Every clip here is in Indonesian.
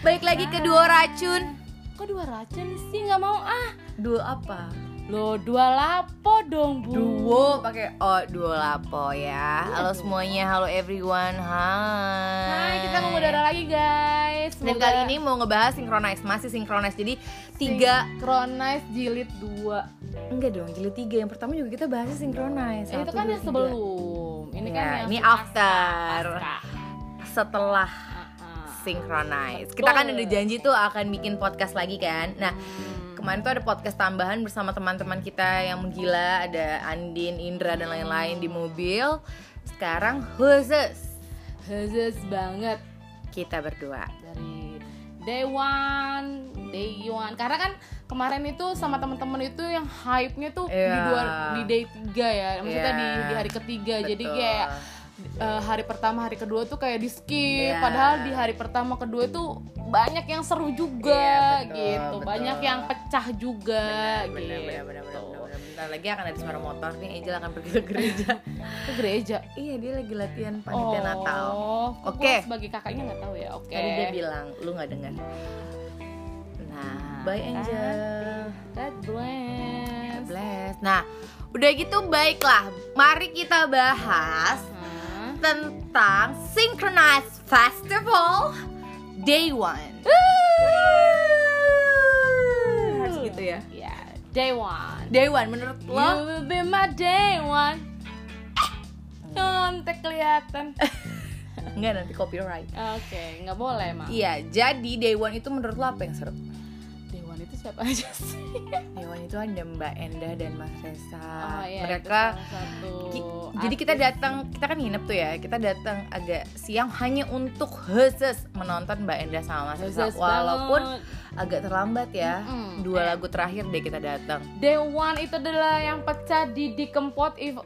Balik lagi ke duo racun. Kok dua racun sih nggak mau ah? Duo apa? Lo dua lapo dong bu. Duo pakai O, duo lapo ya. Halo semuanya, halo everyone. Hai. Hai, kita mau mudara lagi guys. Dan kali ini mau ngebahas synchronize, masih synchronize. Jadi tiga Synchronize jilid 2 enggak dong, jilid tiga yang pertama juga kita bahasnya synchronize. Eh, Satu, Itu kan dua, yang tiga. sebelum. Ini Iya, kan yang ini pasca- after. pasca. Setelah Ah, ah. synchronize. Betul. Hmm. Kita kan ada janji tuh akan bikin podcast lagi kan. Nah, kemarin tuh ada podcast tambahan bersama teman-teman kita yang menggila, ada Andin, Indra dan lain-lain di mobil. Sekarang khusus Hezes banget kita berdua. dari day one, day one. Karena kan kemarin itu sama temen-temen itu yang hype-nya tuh di Iya. dua, di day tiga ya. Maksudnya di, Iya. di hari ketiga. Jadi Betul. kayak eh, hari pertama, hari kedua tuh kayak di skip. Iya. Padahal di hari pertama, kedua itu banyak yang seru juga Iya, betul, gitu. betul. Banyak yang pecah juga Benar, gitu. benar, benar, benar, benar. Bentar lagi akan ada suara motor nih Angel akan pergi ke gereja. Ke gereja. iya, dia lagi latihan panitia oh, Natal. kok Oke. gua Sebagai kakaknya nggak tahu ya. Oke. Tadi dia bilang, lu nggak dengar. Nah, bye Angel. God bless. Bless. Nah, udah gitu baiklah. Mari kita bahas Hah? tentang Synchronize Festival Day One. Harus gitu ya. Ya, day one. Day One menurut You lo? will be my day one. Nontek kelihatan. Enggak nanti copyright. Oke, nggak boleh emang. Iya, jadi Day One itu menurut lo apa yang seru? Day one itu siapa aja sih? Day One itu ada Mbak Enda dan Mas Resa. Oh, Ah, iya, Mereka itu salah satu Ki- Jadi kita datang, kita kan nginep tuh ya. Kita datang agak siang hanya untuk khusus menonton Mbak Enda sama Mas artis. Reza. Zes Walaupun banget. agak terlambat ya. Mm-mm. Dua lagu terakhir deh kita datang. Day one itu adalah yang pecah di di kempot if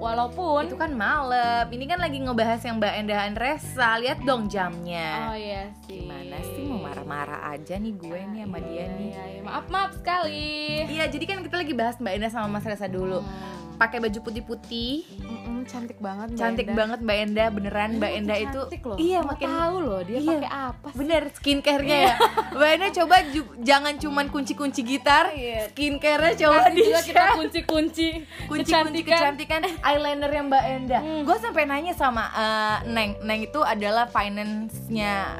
walaupun Itu kan malam. Ini kan lagi ngebahas yang Mbak Enda Andresa. Lihat dong Oh jamnya. iya sih. ya. Gimana sih mau marah-marah aja nih gue nih sama dia Iya, nih. iya, iya. Maaf maaf sekali. Iya, jadi kan kita lagi bahas Mbak Enda sama Mas Reza dulu. Hmm. Pakai baju putih-putih. Mm-mm, cantik banget Mbak Cantik Enda. banget Mbak Enda, beneran Mbak Enda itu. Cantik loh. Iya, Mau makin tahu loh dia Iya. pakai apa sih. Bener, skincare-nya Iya. ya. Mbak Ena coba ju- jangan cuman kunci-kunci gitar, Iya. skincare-nya coba Nanti di juga kita kunci-kunci kunci-kunci kecantikan. kecantikan eyeliner yang Mbak Enda. Hmm. Gue sampai nanya sama eh, Neng, Neng itu adalah finance-nya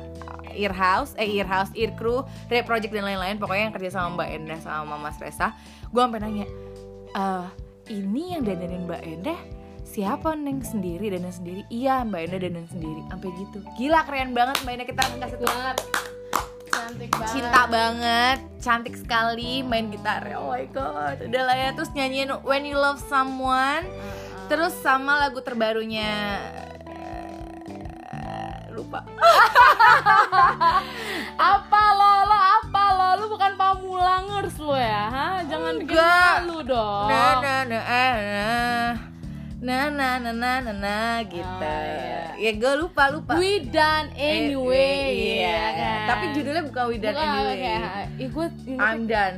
Earhouse, eh Earhouse, Earcrew, Red Project dan lain-lain. Pokoknya yang kerja sama Mbak Enda sama Mas Resa. Gue sampai nanya, "Eh, ini yang dandanin Mbak Enda siapa neng sendiri dandan sendiri iya mbak Enda dandan sendiri sampai gitu gila keren banget mbak Enda kita kasih tepuk banget. Cantik banget. cinta banget, cantik sekali, main gitar. Oh my god, udah lah ya. Terus nyanyiin When You Love Someone, terus sama lagu terbarunya eh, lupa. Apa lo lo apa lo lu bukan pamulangers lo ya? Hah? Jangan bikin Enggak. malu dong. Na na na ah, na na na na na na na gitu. Oh, iya. Ya gue lupa lupa. We done Eh, anyway. iya. ya kan? Tapi judulnya bukan We Done Bukan, Anyway. Ah, kayak, Ih, gue I'm done.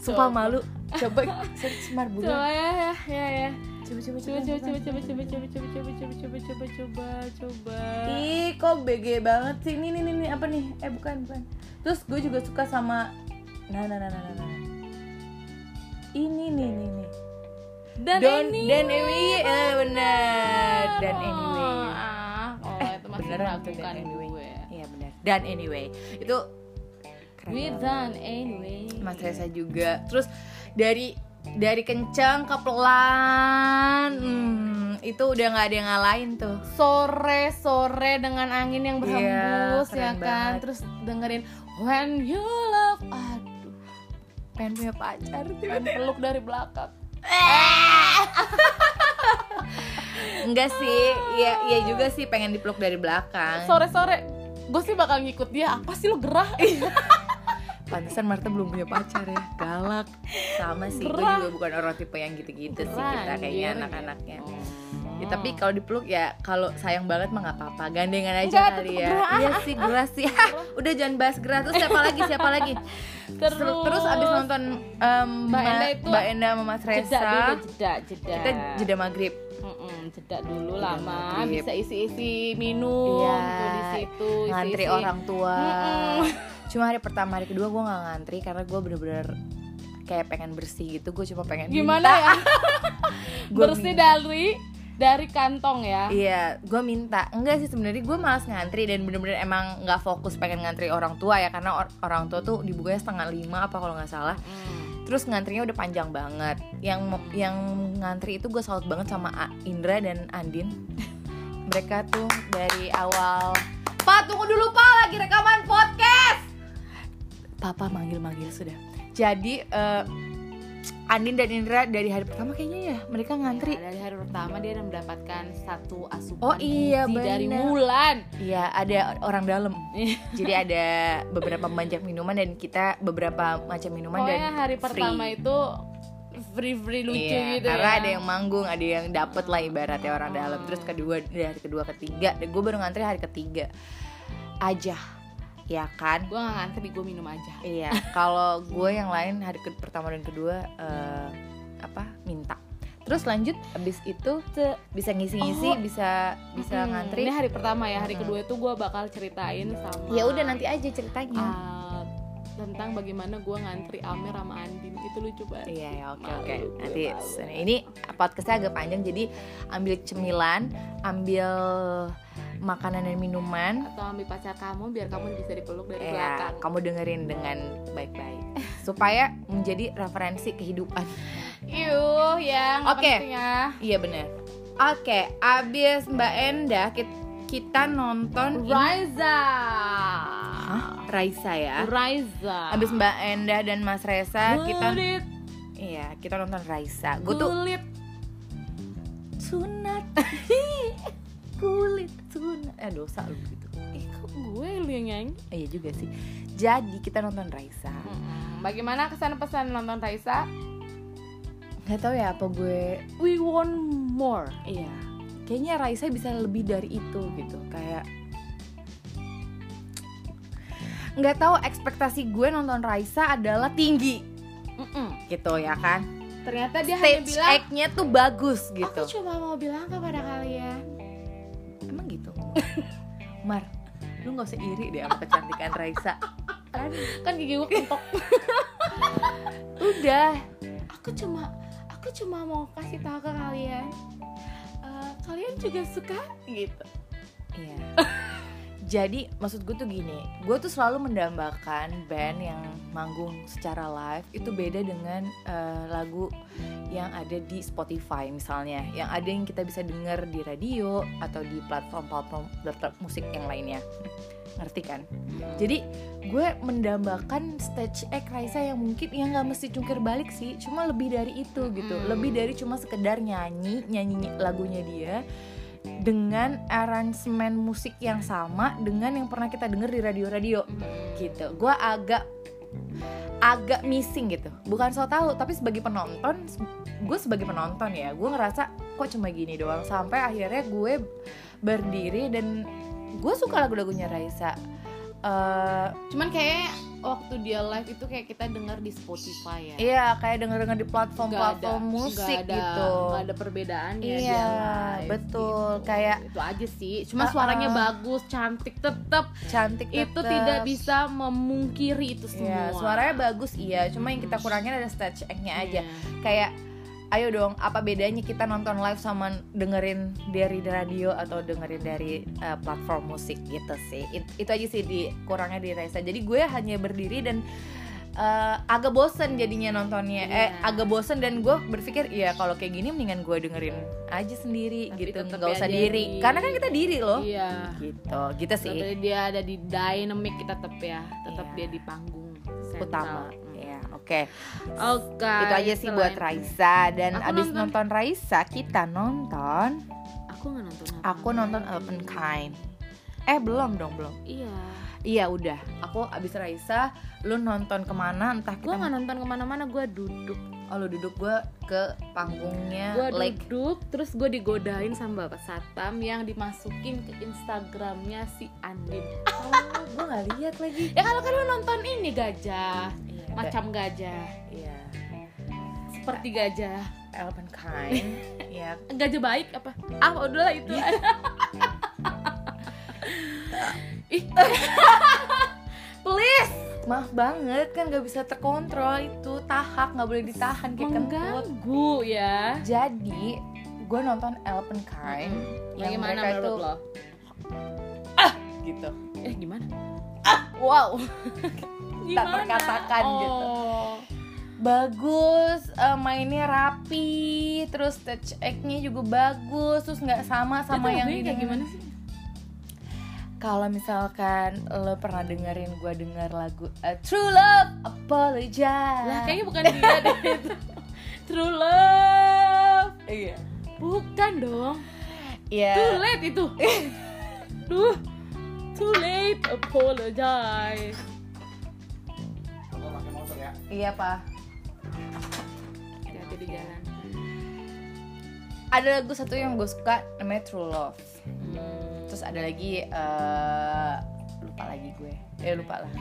Sumpah malu. Coba search Smart coba Bulan. ya, ya, ya, ya. Coba coba Coba, coba, coba, coba, coba, coba, coba, coba, coba, coba, coba, coba, coba. Ih, kok BG banget sih? Ini, ini, ini, ini, apa nih? Eh, bukan, bukan. Terus gue juga suka sama... Nah, nah, nah, nah, nah, nah. Ini, nih, nih, nih. Dan Don't- ini Oh, Dan anyway, eh, bener. Dan anyway. Ah, oh, itu masih beneran itu meragukan dan anyway. gue. Iya, bener. Dan anyway. Itu keren We banget. done anyway. Mas Reza Iya. juga. Terus dari dari kencang ke pelan, hmm, itu udah nggak ada yang ngalahin tuh. sore sore dengan angin yang berhembus Iya, ya keren kan. banget. Terus dengerin When You Love. Aduh, Pengen punya pacar tuh. pengen peluk dari belakang. Enggak sih, ya ya juga sih pengen dipeluk dari belakang. Sore sore gue sih bakal ngikut dia. Apa sih lo gerah? Pantesan Marta belum punya pacar ya, galak. Sama sih, gue Gerah. juga bukan orang tipe yang gitu-gitu sih kita Anjir, kayaknya gitu. anak-anaknya. Hmm. Ya, tapi kalau dipeluk ya kalau sayang banget mah nggak apa-apa, gandengan aja Enggak, kali tetep ya. gerah. Iya sih, gerah sih. Udah jangan bahas gerah terus siapa lagi? Siapa lagi? terus, terus abis nonton em, Mbak Ma- Enda itu Mbak Enda sama Mas jeda Reza, dulu jeda jeda. kita jeda maghrib. Mm-mm, jeda dulu lama maghrib. bisa isi-isi minum Iya. tuh di situ di ngantri sisi. orang tua Mm-mm. cuma hari pertama hari kedua gue nggak ngantri karena gue bener-bener kayak pengen bersih gitu gue cuma pengen Gimana ya? Gua Bersih minta. dari dari kantong ya. Iya, gue minta. Enggak sih sebenarnya gue malas ngantri dan bener-bener emang nggak fokus pengen ngantri orang tua ya karena or- orang tua tuh dibukanya setengah lima apa kalau nggak salah. Mm. Terus ngantrinya udah panjang banget. Yang mo- yang ngantri itu gue salut banget sama A- Indra dan Andin. Mereka tuh dari awal. Pak tunggu dulu Pak lagi rekaman podcast. Papa manggil-manggil sudah. Jadi eh, Andin dan Indra dari hari pertama kayaknya ya mereka ngantri. Ya, dari hari pertama dia udah mendapatkan satu asupan Oh, iya, gizi dari bener. Mulan. Iya, ada orang dalam. Iya. Jadi ada beberapa macam minuman dan kita beberapa macam minuman dan Pokoknya hari pertama free. itu free free lucu Iya, gitu karena ya. ada yang manggung, ada yang dapet lah ibaratnya orang Hmm. dalam. Terus kedua dari hari kedua ketiga, dan gue baru ngantri hari ketiga aja, ya kan? Gue gak ngantri, gue minum aja. Iya, kalau gue yang lain hari ke- pertama dan kedua eh, apa minta. Terus lanjut abis itu tuh bisa ngisi-ngisi, Oh. bisa bisa Hmm, ngantri. Ini hari pertama ya, hari Mm-mm. kedua itu gue bakal ceritain sama. Ya udah nanti aja ceritanya. uh, tentang bagaimana gue ngantri Amir sama Andin itu lucu banget. Iya ya oke Malu, oke gue nanti malu. sana. ini podcastnya agak panjang jadi ambil cemilan ambil makanan dan minuman Atau ambil pacar kamu biar kamu bisa dipeluk dari ya belakang. kamu dengerin dengan baik-baik supaya menjadi referensi kehidupan Yuh, yang ya. Oke. iya benar oke abis mbak Enda kit- kita, nonton ini- Raiza. Hah? Raisa ya Raiza. abis mbak Enda dan Mas Resa kita Kulit, iya kita nonton Raisa gue tuh kulit. sunat kulit sunat eh dosa lu gitu Eh, kok gue lu yang nyanyi? Eh, Iya juga sih. Jadi kita nonton Raisa. Mm-mm. Bagaimana kesan pesan nonton Raisa? Gak tau ya apa gue. We want more. Iya. Kayaknya Raisa bisa lebih dari itu gitu. Kayak nggak tahu ekspektasi gue nonton Raisa adalah tinggi Mm-mm. gitu ya kan. Ternyata dia hanya Stage bilang, act-nya tuh bagus aku gitu. cuma mau bilang kepada kalian. Emang gitu. Mar, lu nggak usah iri deh sama kecantikan Raisa. Kan Kan gigi gue kentok. udah. aku cuma aku cuma mau kasih tahu ke kalian eh, kalian juga suka gitu Iya. Jadi maksud gue tuh gini, gue tuh selalu mendambakan band yang manggung secara live itu beda dengan eh, lagu yang ada di Spotify misalnya, yang ada yang kita bisa denger di radio atau di platform-platform platform musik yang lainnya, ngerti kan? Jadi gue mendambakan stage act Raisa yang mungkin yang nggak mesti cungkir balik sih, cuma lebih dari itu gitu, Mm-mm. lebih dari cuma sekedar nyanyi nyanyi lagunya dia dengan aransemen musik yang sama dengan yang pernah kita denger di radio-radio gitu. Gua agak agak missing gitu. Bukan so tahu, tapi sebagai penonton, gue sebagai penonton ya, gue ngerasa kok cuma gini doang. Sampai akhirnya gue berdiri dan gue suka lagu-lagunya Raisa. Eh, cuman kayak waktu dia live itu kayak kita dengar di Spotify ya Iya, kayak denger-denger di Nggak platform-platform musik nggak ada, gitu. nggak ada perbedaannya Iya, dia live betul. gitu. Kayak- itu aja sih cuma Uh-uh. suaranya bagus cantik tetap Cantik itu tetep. tidak bisa memungkiri itu semua Iya, suaranya bagus iya, cuma yang kita kurangin ada stage act-nya Iya. aja. kayak ayo dong apa bedanya kita nonton live sama dengerin dari radio atau dengerin dari eh, platform musik gitu sih It- itu aja sih di kurangnya di Raisa jadi gue hanya berdiri dan eh, agak bosen jadinya nontonnya eh Iya. agak bosen dan gue berpikir ya kalau kayak gini mendingan gue dengerin aja sendiri Tapi gitu tetep nggak ya usah jadi- diri karena kan kita diri loh iya gitu gitu sih tapi dia ada di dynamic kita tetap ya tetap Iya. dia di panggung sentral. utama Mm. ya oke Oke. itu aja sih buat selain- Raisa dan Aku abis nonton- nonton Raisa kita nonton Aku nggak nonton. apa. Aku nonton Open Kind. Eh belum dong belum. Iya. Iya udah. Aku abis Raisa, lu nonton kemana? Entah Gue kita. nggak nonton kemana-mana. Gue duduk. Oh lu duduk gue ke panggungnya Gue Lake. duduk. Terus gue digodain sama bapak satpam yang dimasukin ke Instagramnya si Andin. Oh, gue nggak lihat lagi. Ya kalau kan lu nonton ini gajah, macam gajah, Iya. seperti gajah, Open Kind. Iya. gajah baik apa? Ah udahlah itu. Ih, please maaf banget kan gak bisa terkontrol itu tahak nggak boleh ditahan kayak kentut mengganggu ya. Hmm, jadi gue nonton Elpenkind yang Bagaimana mereka itu menurut lo? gitu Eh, gimana? wow Gimana? terkatakan oh. gitu. bagus eh, mainnya rapi terus touch act-nya juga bagus terus nggak sama sama yang di kayak gimana sih? kalau misalkan lo pernah dengerin gue denger lagu eh, True Love Apologize Lah, kayaknya bukan dia deh itu. True love. iya Bukan dong. Iya. Too late itu. Duh. Too late apologize. Gua pakai motor ya. iya pak Hati-hati di jalan. ada lagu satu yang gue suka namanya True Love Hmm, terus ada lagi eh lupa lagi gue eh lupa lah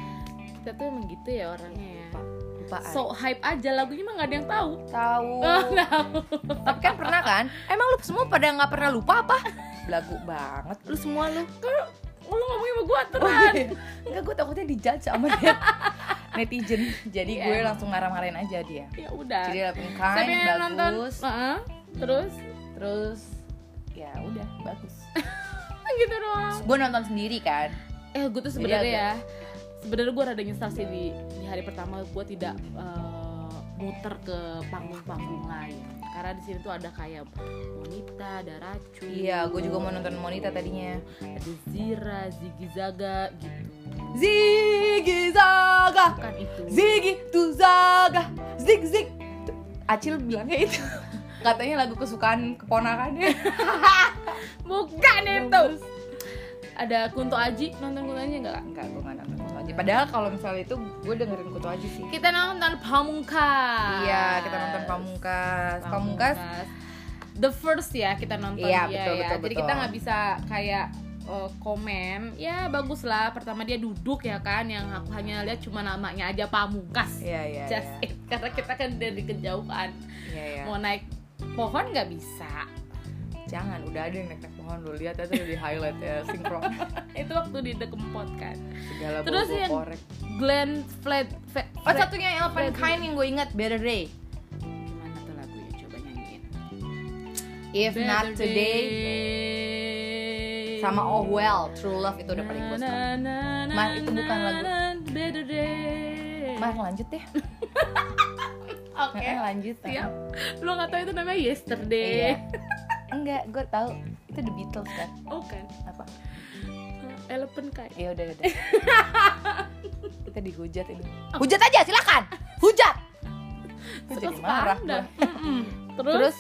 Kita tuh emang gitu ya orangnya ya. lupa lupaan So hype aja lagunya mah nggak ada yang tahu. tahu Oh, tahu. tapi kan pernah kan emang lu semua pada nggak pernah lupa apa lagu banget lu semua lu Lu ngomongin sama gua Oh, terang. iya. Enggak, gue takutnya dijudge sama dia netizen Jadi Iya. gue langsung marah-marahin aja dia Ya udah. Jadi Loving Saya Kind, pengen nonton. bagus Heeh. terus Terus ya udah bagus gitu doang. Gue nonton sendiri kan Eh, gue tuh Jadi sebenarnya agak- ya. Sebenarnya gue rada nyesal sih di, di hari pertama gue tidak eh, muter ke panggung-panggung lain. Karena di sini tuh ada kayak Monita, ada Racun. Iya gue juga mau nonton Monita tadinya Ada Zira, Ziggy Zaga gitu. Ziggy Zaga Bukan itu. Ziggy tu Zaga Zig Zig Tu- Acil bilangnya itu Katanya lagu kesukaan keponakannya Bukan itu. Ada Kunto Aji, nonton Kunto Aji enggak? Enggak gue gak nonton Kunto Aji Padahal kalau misalnya itu gue dengerin Kutu Aji sih Kita nonton Pamungkas. Iya kita nonton Pamungkas Pamungkas the first ya kita nonton Iya, betul, dia ya betul, jadi betul. kita nggak bisa kayak eh, komen ya bagus lah pertama dia duduk ya kan yang aku hanya lihat cuma namanya aja pamungkas Iya iya just iya. it karena kita kan dari kejauhan Iya iya. mau naik pohon nggak bisa Jangan, udah ada yang naik-naik pohon lu lihat aja di highlight ya sinkron itu waktu di The Kempot kan segala Terus bobo yang- korek. Glenn Fred, Fred Oh satunya yang open Fred- kind yang gue ingat Better Day. gimana tuh lagunya coba nyanyiin If not Better today day. sama Oh Well True Love itu udah paling gue suka. Mas, itu bukan lagu. Better Day. Mas lanjut deh. Oke. Eh, lanjut. Siap. Lu nggak tahu itu namanya Yesterday. Iya. Enggak, gue tahu itu The Beatles kan. Oh kan. Apa? Elephant kayak. Ya udah udah. Kita dihujat ini. Hujat aja silakan. Hujat. Gue Suka jadi suka marah Anda. gue. Mm-mm. Terus, Terus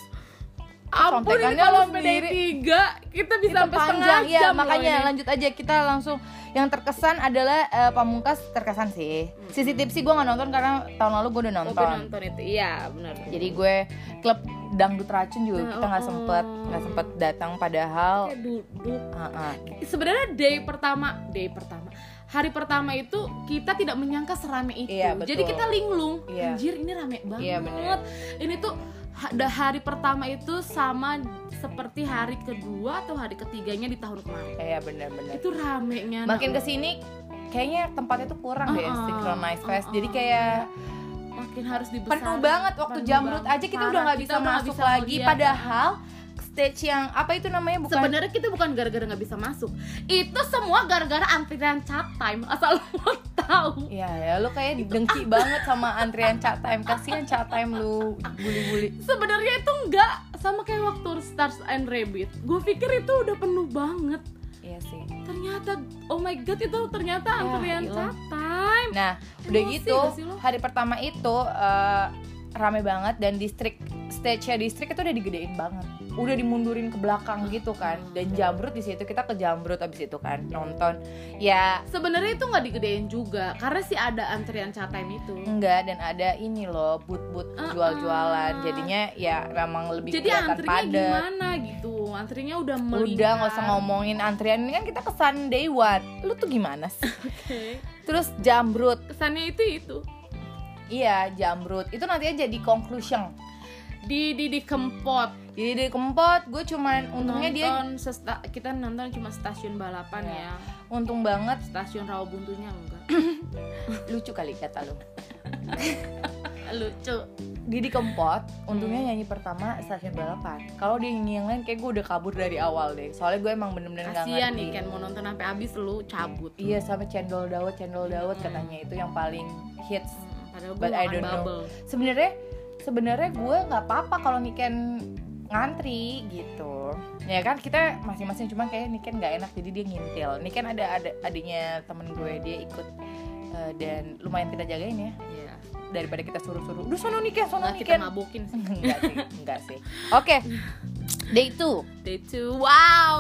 ampun ini contekannya kalau lu bedai sendiri. tiga kita bisa itu sampai panjang setengah ya jam loh makanya ini. lanjut aja kita langsung yang terkesan adalah eh, pamungkas terkesan sih sisi tipsi gue nggak nonton karena tahun lalu gue udah Oh, nonton gue Hmm. nonton itu. Iya, benar. jadi gue klub dangdut racun juga Nah, kita nggak oh. sempet nggak sempet datang padahal Kayak duduk. Heeh. Sebenarnya day pertama, day pertama. Hari pertama itu kita tidak menyangka serame itu. Iya, betul. Jadi kita linglung. Iya. Anjir, ini rame banget. Iya, bener. Ini tuh ha- da- hari pertama itu sama seperti hari kedua atau hari ketiganya di tahun kemarin. iya benar-benar Itu ramenya. nak. makin kesini kayaknya tempatnya tuh kurang deh Uh-uh. synchronized fest Uh-uh. jadi kayak makin harus dibesarin. penuh banget waktu Penuh jamrut banget. aja kita Parah, udah nggak kita bisa udah nggak masuk bisa ya. lagi ngeliat. padahal stage yang apa itu namanya bukan Sebenarnya kita bukan gara-gara nggak bisa masuk. Itu semua gara-gara antrian chat time. Asal lo mau tahu. Iya ya, lu kayak Gitu. dengki banget sama antrian chat time. Kasihan chat time lu bully-bully. Sebenarnya itu nggak sama kayak waktu Stars and Rabbit. Gue pikir itu udah penuh banget. Iya sih. Ternyata, oh my god itu ternyata antrian ilah. chat time. Nah, Ya, udah Emosi gitu gak sih lu? hari pertama itu eh, rame banget dan distrik stage-nya distrik itu udah digedein banget. Udah dimundurin ke belakang gitu kan. Dan jamrut di situ kita ke jamrut abis itu kan nonton. Ya Sebenarnya itu nggak digedein juga karena sih ada antrian chat time itu. enggak dan ada ini loh but-but Uh-uh. jual-jualan. Jadinya ya memang lebih Jadi kelihatan antrinya padat. gimana gitu? Antrinya udah melingkar. Udah nggak usah ngomongin antrian ini kan kita kesan day one. Lu tuh gimana sih? Oke. Terus jamrut, Kesannya itu itu. iya jamrut. Itu nantinya jadi conclusion. di di di kempot jadi dari kempot gue cuman untungnya dia Hmm, nonton sesta- kita nonton cuma stasiun balapan Ya. ya untung banget stasiun Rawabuntunya enggak lucu kali kata lu lucu Didi Kempot untungnya Hmm. nyanyi pertama stasiun balapan kalau dia nyanyi yang lain kayak gue udah kabur dari awal deh soalnya gue emang bener-bener gak kasian ya. ngerti nih Ken mau nonton sampai habis lu cabut iya sampai cendol dawet cendol dawet katanya itu yang paling hits Hmm, padahal gue But I makan don't know. bubble sebenarnya sebenarnya gue nggak apa-apa kalau Niken ngantri gitu ya kan kita masing-masing cuma kayak Niken nggak enak jadi dia ngintil Niken ada ada adiknya temen gue dia ikut eh, dan lumayan kita jagain ya Iya. daripada kita suruh-suruh udah sono Niken sono Nggak, kita Niken mabokin sih enggak sih enggak sih oke day 2 day two wow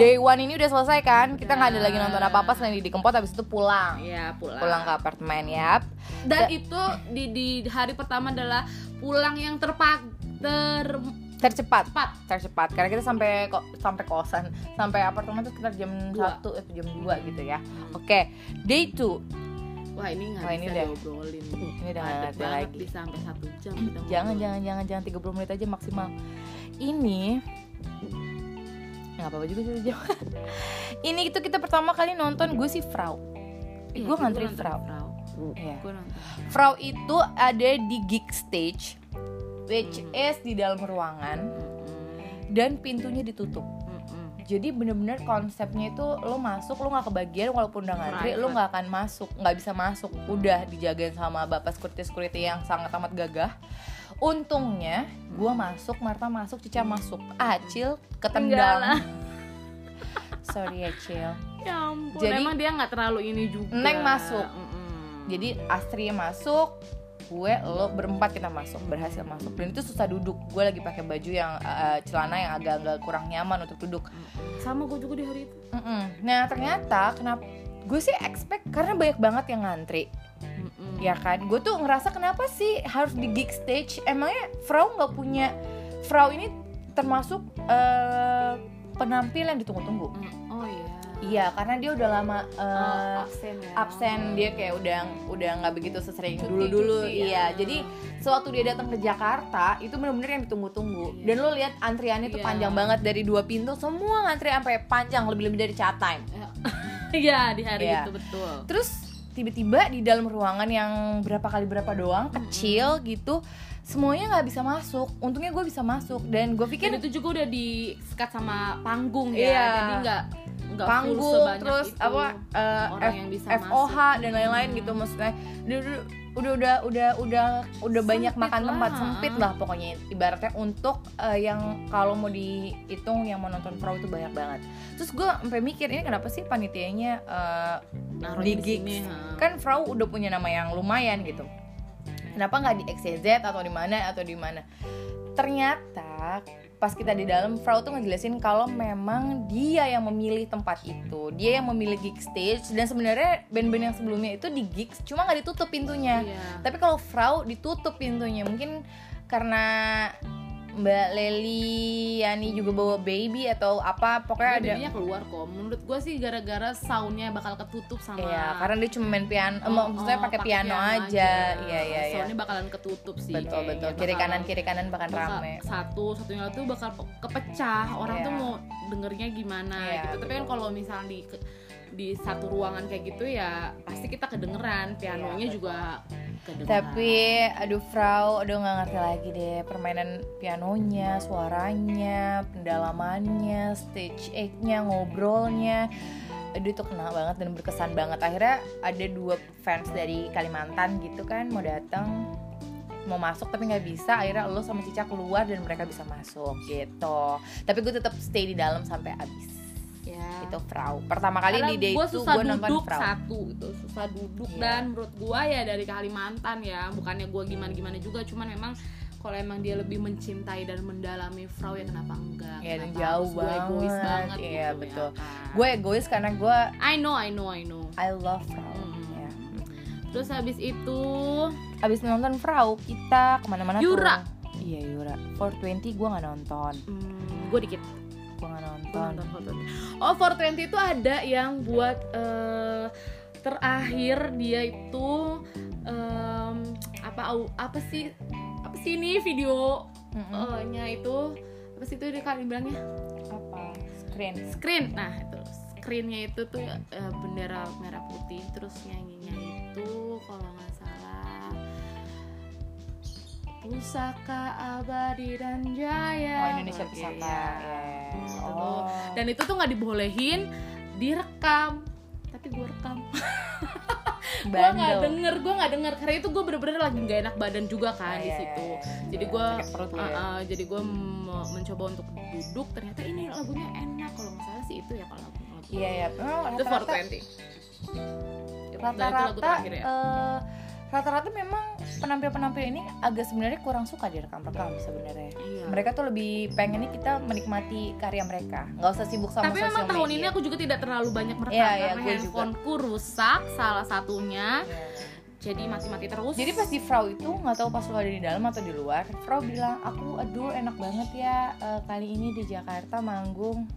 day 1 ini udah selesai kan kita nggak ada lagi Udah. nonton apa-apa selain di Kempot habis itu pulang ya pulang pulang ke apartemen ya dan itu di di hari pertama adalah pulang yang terpak tercepat tercepat tercepat karena kita sampai ko- sampai kosan sampai apartemen tuh sekitar jam Dua. Mm-hmm. satu atau jam 2 gitu ya oke day 2 wah ini nggak Wah, ini bisa deh. diobrolin Ini udah nggak Padat ada banget lagi. bisa sampai satu jam jangan kita ngobrol. jangan jangan jangan 30 menit aja maksimal ini nggak apa-apa juga sih jam ini itu kita pertama kali nonton gue sih Frau Iya, gue ngantri nonton Frau Frau. Iya. Gue nonton. Frau itu ada di gig stage which Hmm. is di dalam ruangan dan pintunya ditutup Mm-mm. jadi bener-bener konsepnya itu lo masuk lo nggak kebagian walaupun udah ngantri lo Private. nggak akan masuk nggak bisa masuk udah dijagain sama bapak security security yang sangat amat gagah untungnya gua masuk Marta masuk Cica masuk Acil ketendang Ketinggalan. sorry Acil Ya ampun, Eh. Jadi- emang dia nggak terlalu ini juga. Neng masuk. Mm-mm. jadi Astri masuk gue lo berempat kita masuk berhasil masuk dan itu susah duduk gue lagi pakai baju yang eh, celana yang agak-agak kurang nyaman untuk duduk sama gue juga di hari itu. Mm-mm. nah ternyata kenapa gue sih expect karena banyak banget yang ngantri Mm-mm. ya kan gue tuh ngerasa kenapa sih harus di gig stage emangnya Frau nggak punya Frau ini termasuk eh, penampil yang ditunggu-tunggu Mm, Oh iya. iya karena dia udah lama eh, Oh, absen ya. absen dia kayak udah udah nggak begitu sesering Cuti, dulu dulu cuti, iya ya. jadi sewaktu dia datang ke Jakarta itu bener-bener yang ditunggu-tunggu Iya. dan lo lihat antriannya tuh Iya. panjang banget dari dua pintu semua ngantri sampai panjang lebih-lebih dari chat time Iya di hari Iya. itu betul. terus tiba-tiba di dalam ruangan yang berapa kali berapa doang kecil gitu semuanya nggak bisa masuk untungnya gue bisa masuk dan gue Kan pikir itu juga udah di sekat sama panggung ya. Iya. Jadi nggak nggak full panggung sebanyak terus itu apa eh, orang F- yang bisa FOH masuk. dan lain-lain Hmm. gitu maksudnya udah udah udah udah udah udah, udah banyak Sempit makan tempat lah. sempit lah pokoknya ibaratnya untuk eh, yang kalau mau dihitung yang mau nonton pro itu banyak banget terus gue sampai mikir ini kenapa sih panitianya eh, Naruh di di sini. gigs. ha. kan Frau udah punya nama yang lumayan gitu kenapa nggak di XYZ atau di mana atau di mana ternyata pas kita di dalam Frau tuh ngejelasin kalau memang dia yang memilih tempat itu dia yang memilih gig stage dan sebenarnya band-band yang sebelumnya itu di gigs cuma nggak ditutup pintunya Iya. tapi kalau Frau ditutup pintunya mungkin karena Mbak Leli Yani juga bawa baby atau apa pokoknya Tapi ada jadinya keluar kok. Menurut gue sih gara-gara soundnya bakal ketutup sama. Iya, karena dia cuma main piano, eh, maksudnya Oh, pakai piano, aja. Iya, iya, iya. Soalnya bakalan ketutup sih. Betul, kayaknya. betul. Kiri Iya, Bakal- kanan, kiri kanan bahkan bakal Kan Iya. rame. Satu, satunya tuh bakal pe- kepecah. Orang Iya. tuh mau dengernya gimana Iya, gitu. Tapi kan betul. kalau misalnya di ke- di satu ruangan kayak gitu ya pasti kita kedengeran, pianonya Iya, betul. juga kedengeran. Tapi aduh Frau, aduh nggak ngerti lagi deh permainan pianonya, suaranya, pendalamannya, stage act-nya, ngobrolnya. Aduh itu kena banget dan berkesan banget. Akhirnya ada dua fans dari Kalimantan gitu kan mau datang mau masuk tapi nggak bisa akhirnya lo sama Cica keluar dan mereka bisa masuk gitu tapi gue tetap stay di dalam sampai habis ya. itu Frau pertama kali Karena di day gua itu susah gue nonton duduk Frau satu gitu susah duduk Iya. dan menurut gua ya dari Kalimantan ya bukannya gua gimana gimana juga cuman memang kalau emang dia lebih mencintai dan mendalami Frau ya kenapa enggak Iya, dan Kenapa jauh harus gua egois banget. banget Iya, gitu betul. ya kan? gue egois karena gue I know I know I know I love Frau Mm. ya. terus habis itu Abis nonton Frau kita kemana-mana Yura. tuh. Iya Yura 420 gue gak nonton hmm, gue dikit Gue gak Gua nonton nonton 420. Oh 420 itu ada yang buat eh, terakhir dia itu em, apa au- apa sih apa sih ini video Mm-mm. eh, nya itu apa sih itu dia kan bilangnya apa Screen. screen nah itu screennya itu tuh eh, bendera merah putih terus nyanyinya itu kalau nggak salah pusaka abadi dan jaya Oh Indonesia Oke, pusaka. ya. Ya. Itu tuh. Oh. dan itu tuh nggak dibolehin direkam tapi gue rekam gue nggak Bandel. denger gue nggak denger karena itu gue bener-bener lagi nggak enak badan juga kan di Iya, situ iya, iya. jadi Ah, gue Sakit perut lu ya. jadi gue mencoba untuk duduk ternyata ini lagunya enak kalau nggak salah sih itu ya kalau lagu lagu- Iya ya. Memang itu rata-rata 420 Ya, dan itu lagu rata-rata terakhir ya eh, rata-rata memang penampil-penampil ini agak sebenarnya kurang suka direkam-rekam sebenarnya. Iya. Mereka tuh lebih pengennya kita menikmati karya mereka, nggak usah sibuk sama tapi sosial memang tahun ini media. aku juga tidak terlalu banyak merekam Iya, iya, karena gue juga. handphoneku rusak salah satunya Iya. jadi mati-mati terus Jadi pas di Frau itu nggak tahu pas lu ada di dalam atau di luar, Frau bilang aku aduh enak banget ya eh, kali ini di Jakarta manggung.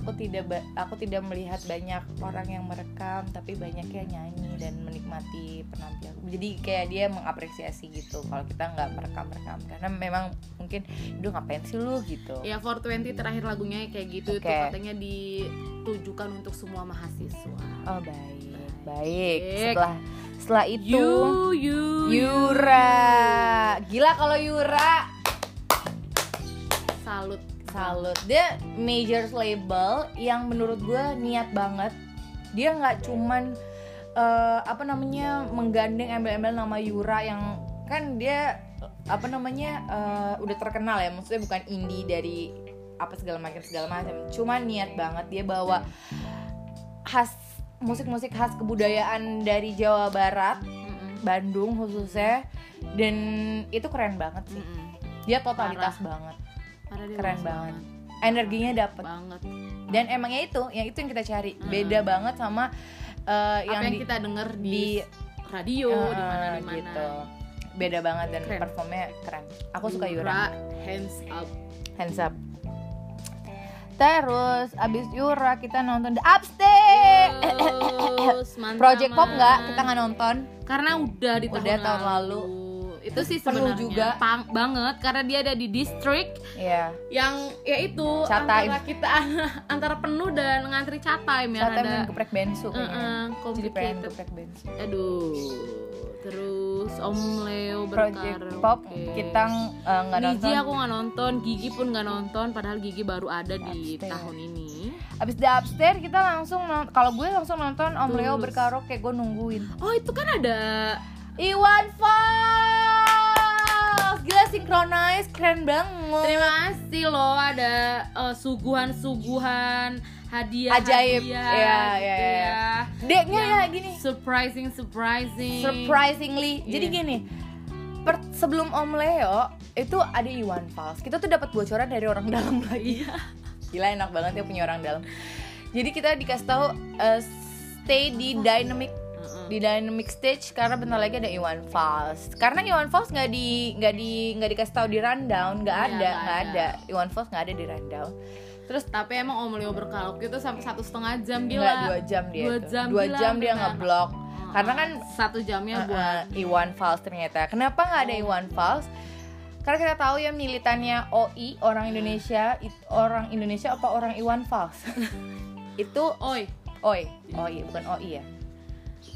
Aku tidak ba- aku tidak melihat banyak orang yang merekam, tapi banyak yang nyanyi dan menikmati penampilan. Jadi kayak dia mengapresiasi gitu kalau kita nggak merekam-rekam karena memang mungkin duh ngapain sih lu gitu. ya 420 terakhir lagunya kayak gitu itu Oke. katanya ditujukan untuk semua mahasiswa Oh baik, baik. Baik. Setelah setelah itu you you Yura. Gila kalau Yura. salut Salut. Dia major label yang menurut gue niat banget. Dia nggak cuman eh, apa namanya menggandeng embel-embel nama Yura yang kan dia eh, apa namanya eh, udah terkenal ya. Maksudnya bukan indie dari apa segala macam segala macam. Cuman niat banget dia bawa khas musik-musik khas kebudayaan dari Jawa Barat, Mm-mm. Bandung khususnya. Dan itu keren banget sih. Mm-mm. Dia totalitas banget. Parah dia Keren bagus banget. Energinya dapet banget dan emangnya itu yang itu yang kita cari Mm. beda banget sama eh, apa yang, yang di, kita denger di, di- radio eh, di mana di mana gitu beda banget dan Keren. performnya keren aku suka Yura hands up hands up terus abis Yura kita nonton The Upstate Eh, Eh, Terus, mantap, Project Pop Man. nggak kita nggak nonton karena udah di Udah tahun lalu. itu sih Perlu sebenarnya juga. pang- banget karena dia ada di distrik ya yang yaitu Cat antara kita antara penuh dan ngantri cat time yang saat ada main geprek bensu Heeh, kayaknya jadi pengen complicated. geprek bensu aduh terus Om Leo Project berkaraoke. Pop kita eh, nggak Niji nonton aku nggak nonton, Gigi pun nggak nonton, padahal Gigi baru ada di Upstairs. tahun ini. abis The Upstate kita langsung non- kalau gue langsung nonton Om Leo Terus. berkaraoke gue nungguin Oh itu kan ada Iwan Fals Gila synchronize keren banget terima kasih loh ada eh, suguhan-suguhan hadiah Ajaib. hadiah, Iya, gitu iya, ya. iya. Deknya ya gini surprising surprising Surprisingly Jadi Iya. gini per- Sebelum Om Leo Itu ada Iwan Fals Kita tuh dapat bocoran dari orang dalam lagi Iya. Gila enak banget ya punya orang dalam Jadi kita dikasih tahu eh, Stay di Dynamic Heeh. di dynamic stage karena bentar lagi ada Iwan Fals karena Iwan Fals nggak di nggak di nggak dikasih tahu di rundown nggak Iya, ada nggak nggak ada ada. Iwan Fals nggak ada di rundown terus tapi emang Om Leo berkaraoke itu sampai satu setengah jam gila nggak dua jam dia Dua itu. jam, dua gila, jam dia benar. ngeblok Heeh. karena kan satu jamnya buat Oh. uh-uh, Iwan Fals ternyata kenapa nggak ada Iwan Fals karena kita tahu ya militannya OI orang Indonesia it- orang Indonesia apa orang Iwan Fals itu oi OI OI bukan OI ya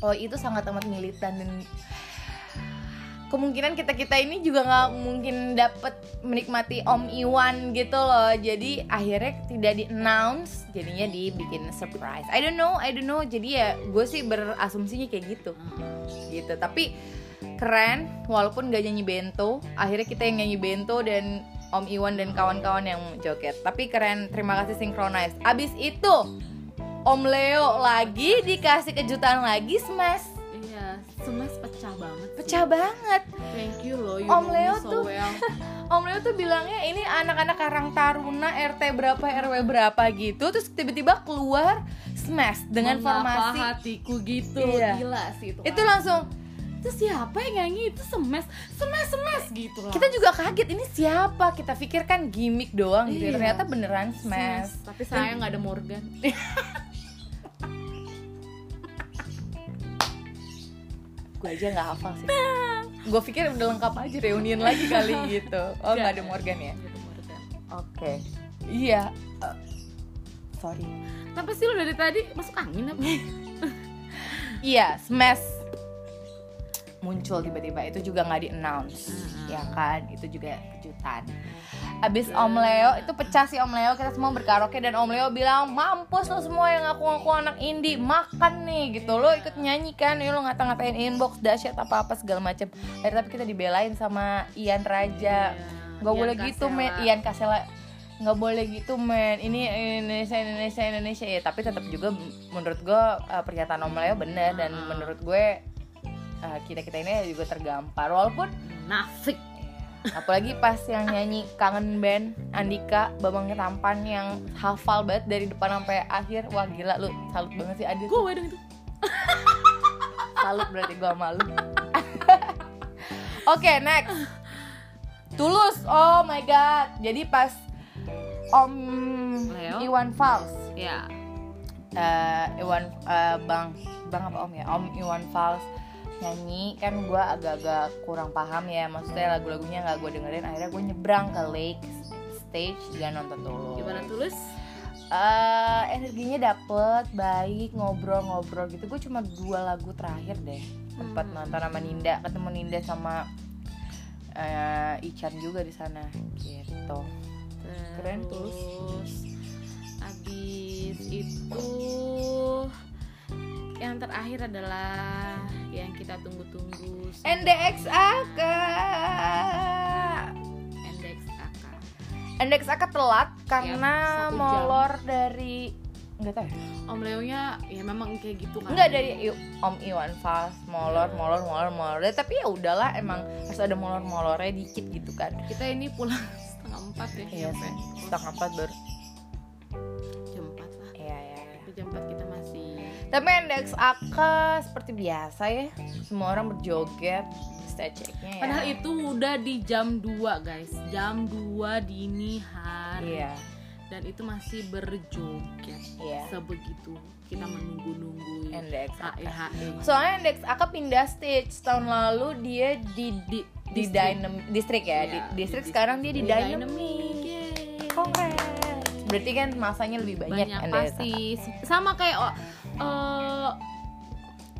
OI itu sangat amat militan dan kemungkinan kita kita ini juga nggak mungkin dapat menikmati Om Iwan gitu loh jadi akhirnya tidak di announce jadinya dibikin surprise I don't know I don't know jadi ya gue sih berasumsinya kayak gitu gitu tapi keren walaupun gak nyanyi bento akhirnya kita yang nyanyi bento dan Om Iwan dan kawan-kawan yang joget tapi keren terima kasih synchronize abis itu Om Leo lagi dikasih kejutan lagi smash iya semes pecah banget sih. pecah banget thank you loh you Om know me Leo so tuh- well. Om Leo tuh bilangnya ini anak-anak Karang Taruna RT berapa RW berapa gitu terus tiba-tiba keluar smash dengan Mengapa formasi hatiku gitu Iya. gila sih itu kan. itu langsung itu siapa yang nyanyi itu semes semes semes gitu lah kita juga kaget ini siapa kita pikirkan gimmick doang gitu Iya. ternyata beneran smash tapi saya nggak ada Morgan gue aja nggak hafal sih gue pikir udah lengkap aja reunion lagi kali gitu oh nggak ada Morgan ya Nggak ada Morgan. oke iya eh, sorry Kenapa Nah, sih lu dari tadi masuk angin apa? iya smash muncul tiba-tiba itu juga nggak di announce Mm-mm. ya kan itu juga kejutan abis Om Leo itu pecah sih Om Leo kita semua berkaraoke dan Om Leo bilang mampus lo semua yang ngaku-ngaku anak indie makan nih gitu lo ikut nyanyi kan ya lo ngata-ngatain inbox dahsyat apa-apa segala macem akhirnya tapi kita dibelain sama Ian Iya, Raja nggak boleh gitu men Ian Kasela nggak boleh gitu men ini Indonesia Indonesia Indonesia ya tapi tetap juga menurut gue pernyataan Om Leo bener dan Ah. menurut gue eh, kita kita ini juga tergampar walaupun ya, Nafik. apalagi pas yang nyanyi kangen band Andika Babang Tampan yang hafal banget dari depan sampai akhir wah gila lu salut banget sih Adit Gue dong itu. salut berarti gue malu oke next tulus oh my god jadi pas om Leo? Iwan Fals Ya. eh, Iwan eh, bang bang apa om ya om Iwan Fals nyanyi kan gue agak-agak kurang paham ya maksudnya lagu-lagunya nggak gue dengerin akhirnya gue nyebrang ke lake stage dan nonton tulus Gimana tulus? Eh, energinya dapet baik ngobrol-ngobrol gitu gue cuma dua lagu terakhir deh tempat Hmm. nonton sama Ninda ketemu Ninda sama eh, Ican juga di sana gitu Keren, Hmm. Tulus. Terus, Abis itu yang terakhir adalah yang kita tunggu-tunggu Eh. NDX AK Index AK. NDX AK telat karena satu jam. molor dari nggak tahu ya? Om Leonya ya memang kayak gitu kan. nggak dari I- Om Iwan Fals molor molor molor molor tapi ya udahlah emang harus ada molor molornya dikit gitu kan Kita ini pulang setengah empat ya. Iya nyampe. sih, setengah empat baru Jam empat lah. Iya, iya, iya. Tapi jam empat kita masih. Tapi indeks AK seperti biasa ya Semua orang berjoget Stagingnya ya Padahal itu udah di jam 2 guys, jam 2 dini hari. Iya Dan itu masih berjoget. Iya Sebegitu kita E menunggu-nunggu Indeks AK HE. Soalnya indeks AK pindah stage Tahun lalu dia di di, di Distrik. dynam- Distrik ya di, Iya, Distrik di sekarang dia di, Di Dynamic, Dynamic yeay. Kongres Berarti kan masanya lebih banyak, banyak NDX AK. pasti sama kayak oh, eh,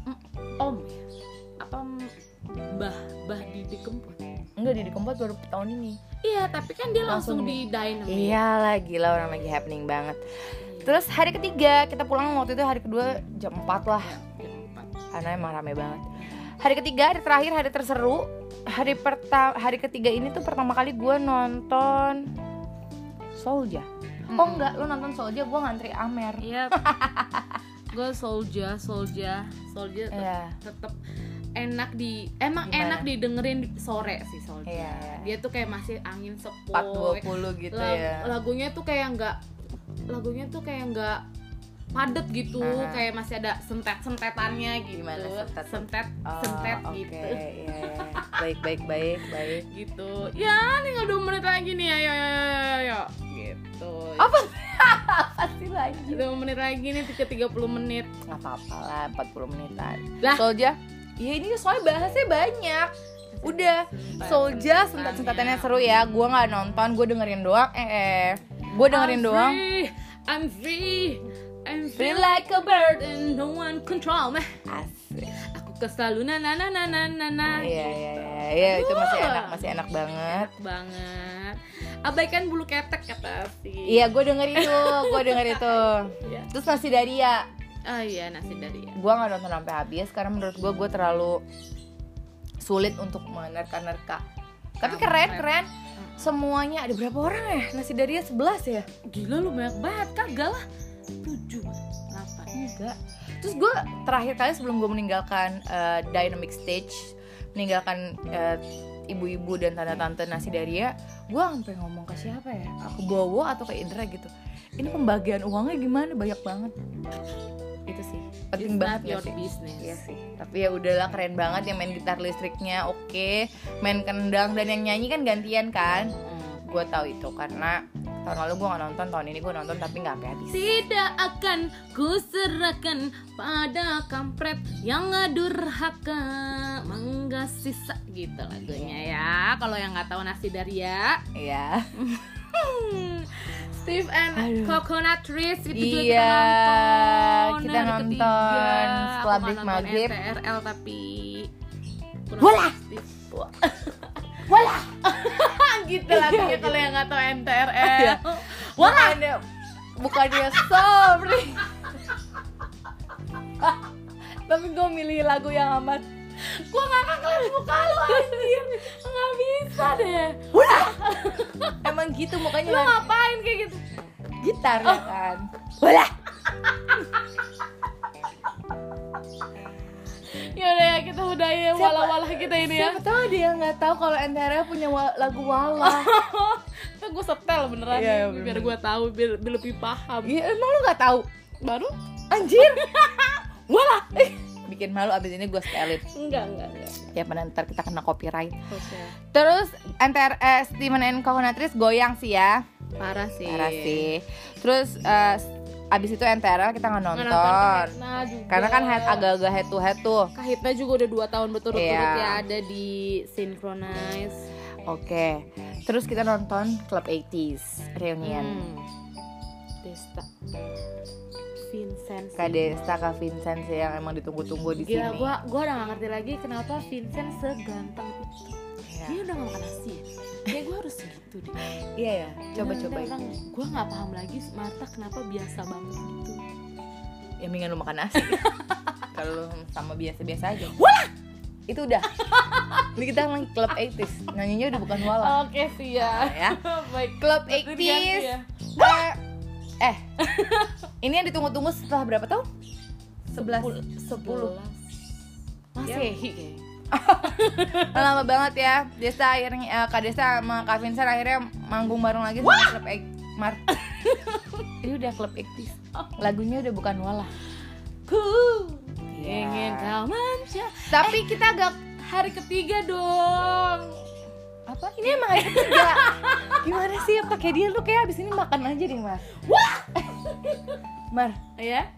mm, om ya? apa mm, bah bah di dikempot Enggak, di Kempot baru tahun ini iya tapi kan dia langsung, Langsung Iya. di dynamic Iyalah, gila orang lagi happening banget Terus hari ketiga, kita pulang waktu itu hari kedua jam 4 lah Jam empat. karena emang rame banget hari ketiga hari terakhir hari terseru hari pertama hari ketiga ini tuh pertama kali gue nonton Solja oh enggak lu nonton Solja gue ngantri Amer iya gue soldier soldier soldier Iya. tetep enak di emang Gimana? enak didengerin sore sih soldier Iya, iya. dia tuh kayak masih angin sepoi empat dua puluh gitu Lag- ya lagunya tuh kayak nggak lagunya tuh kayak nggak padet gitu Aha. Hmm, kayak masih ada sentet sentetannya gitu Gimana sentet? sentet Oh, sentet oke, gitu iya, iya. baik baik baik baik gitu ya tinggal dua menit lagi nih ayo ayo ayo, ayo, ayo. gitu apa pasti lagi dua menit lagi nih tiga tiga puluh menit nggak apa-apa lah 40 menitan Lah. Solja ya ini soalnya bahasnya banyak udah Solja sentat-sentatannya seru ya gue nggak nonton gue dengerin doang eh, eh. gue dengerin I'm doang free, I'm free I'm free Free like a bird and no one control me Asik. aku keselalu na na na na na na Iya iya iya, iya itu masih enak masih enak banget. banget abaikan bulu ketek ya, kata si Iya gue denger itu, gue denger itu. Iya. Terus nasi dari ya, ah iya nasi dari ya gue nggak nonton sampai habis karena menurut gue gue terlalu sulit untuk menerka-nerka. Tapi Sama, Hmm. keren Feb. keren. Semuanya ada berapa orang ya? Nasi dari ya 11 ya? gila lu banyak banget kagak lah tujuh delapan Enggak. Terus gue terakhir kali sebelum gue meninggalkan eh, dynamic stage, meninggalkan eh, ibu-ibu dan tante-tante nasi daria, gue sampai ngomong ke siapa ya? Aku Bowo atau ke Indra gitu. Ini pembagian uangnya gimana? Banyak banget. Itu sih. Penting It's banget not ya your sih. business Iya sih. Tapi ya udahlah keren banget yang main gitar listriknya oke, main kendang dan yang nyanyi kan gantian kan. Hmm. Gue tahu itu karena tahun lalu gue nggak nonton tahun ini gue nonton tapi nggak sampai habis Tidak akan kuserahkan pada kampret yang durhaka menggasisa gitu lagunya ya. Kalau yang nggak tahu nasi dari ya. iya Hmm. Steve and Coconut Trees itu juga Iya, kita kita nonton. Hari nonton ketiga. Aku setelah nggak break nonton maghrib. NTRL tapi aku nonton Bola! Steve. wala gitu lagunya kalau yang nggak tahu Iya. NTRL. bukannya bukannya sorry tapi gue milih lagu yang amat Gua nggak akan kelihatan muka lu anjir. Nggak bisa deh. emang gitu mukanya Lu kan. ngapain kayak gitu? gitar Oh. ya kan wala Yaudah ya kita udah ya Siapa- walah-walah kita ini ya. siapa tahu dia nggak tahu kalau NTR punya wa- lagu wala Kan gue setel beneran Iya, nih, bener. biar gue tahu biar, biar lebih paham. Iya, emang lu nggak tahu Baru anjir wala bikin malu abis ini gue setelin enggak enggak enggak. ya ntar kita kena copyright Oke. terus NTR eh, Steven and Coconutris goyang sih ya Iya. Parah sih. parah sih terus eh, abis itu NTRL kita nggak Nggak nonton Kahitna juga. karena kan head, agak-agak head to head tuh Kahitna juga udah 2 tahun berturut-turut Iya. ya ada di Synchronize. oke terus kita nonton Club 80s reunion Hmm. Desta. Vincent. Kak Desta, Kak Vincent sih yang emang ditunggu-tunggu Kan di Gila, sini. gua gua udah gak ngerti lagi kenapa Vincent seganteng itu. Iya. Dia udah gak makan nasi ya. Kayak gua harus segitu deh. Iya ya, coba-coba. Orang, gua nggak paham lagi Marta kenapa biasa banget gitu. Ya mendingan lu makan nasi. Kalau lu sama biasa-biasa aja. Wala! Itu udah. Ini kita emang Club 80s. Nyanyinya udah bukan wala. Oke siap. Oh. Oh Ya. Baik. Club Berarti Oh. diganti 80s. ya. Eh, eh. ini yang ditunggu-tunggu setelah berapa tahun? 11 Sepuluh. Iya, Masehi kayaknya. lama banget ya Desa akhirnya eh, Kak Desa sama Kak Vincent akhirnya manggung bareng lagi sama klub Ek- Mar ini udah klub ektis lagunya udah bukan wala Ku Iya. ingin kau mencari. tapi kita agak Hari ketiga dong. apa ini emang hari ketiga gimana sih ya pakai dia lu kayak abis ini makan aja deh Mar wah Mar Ya.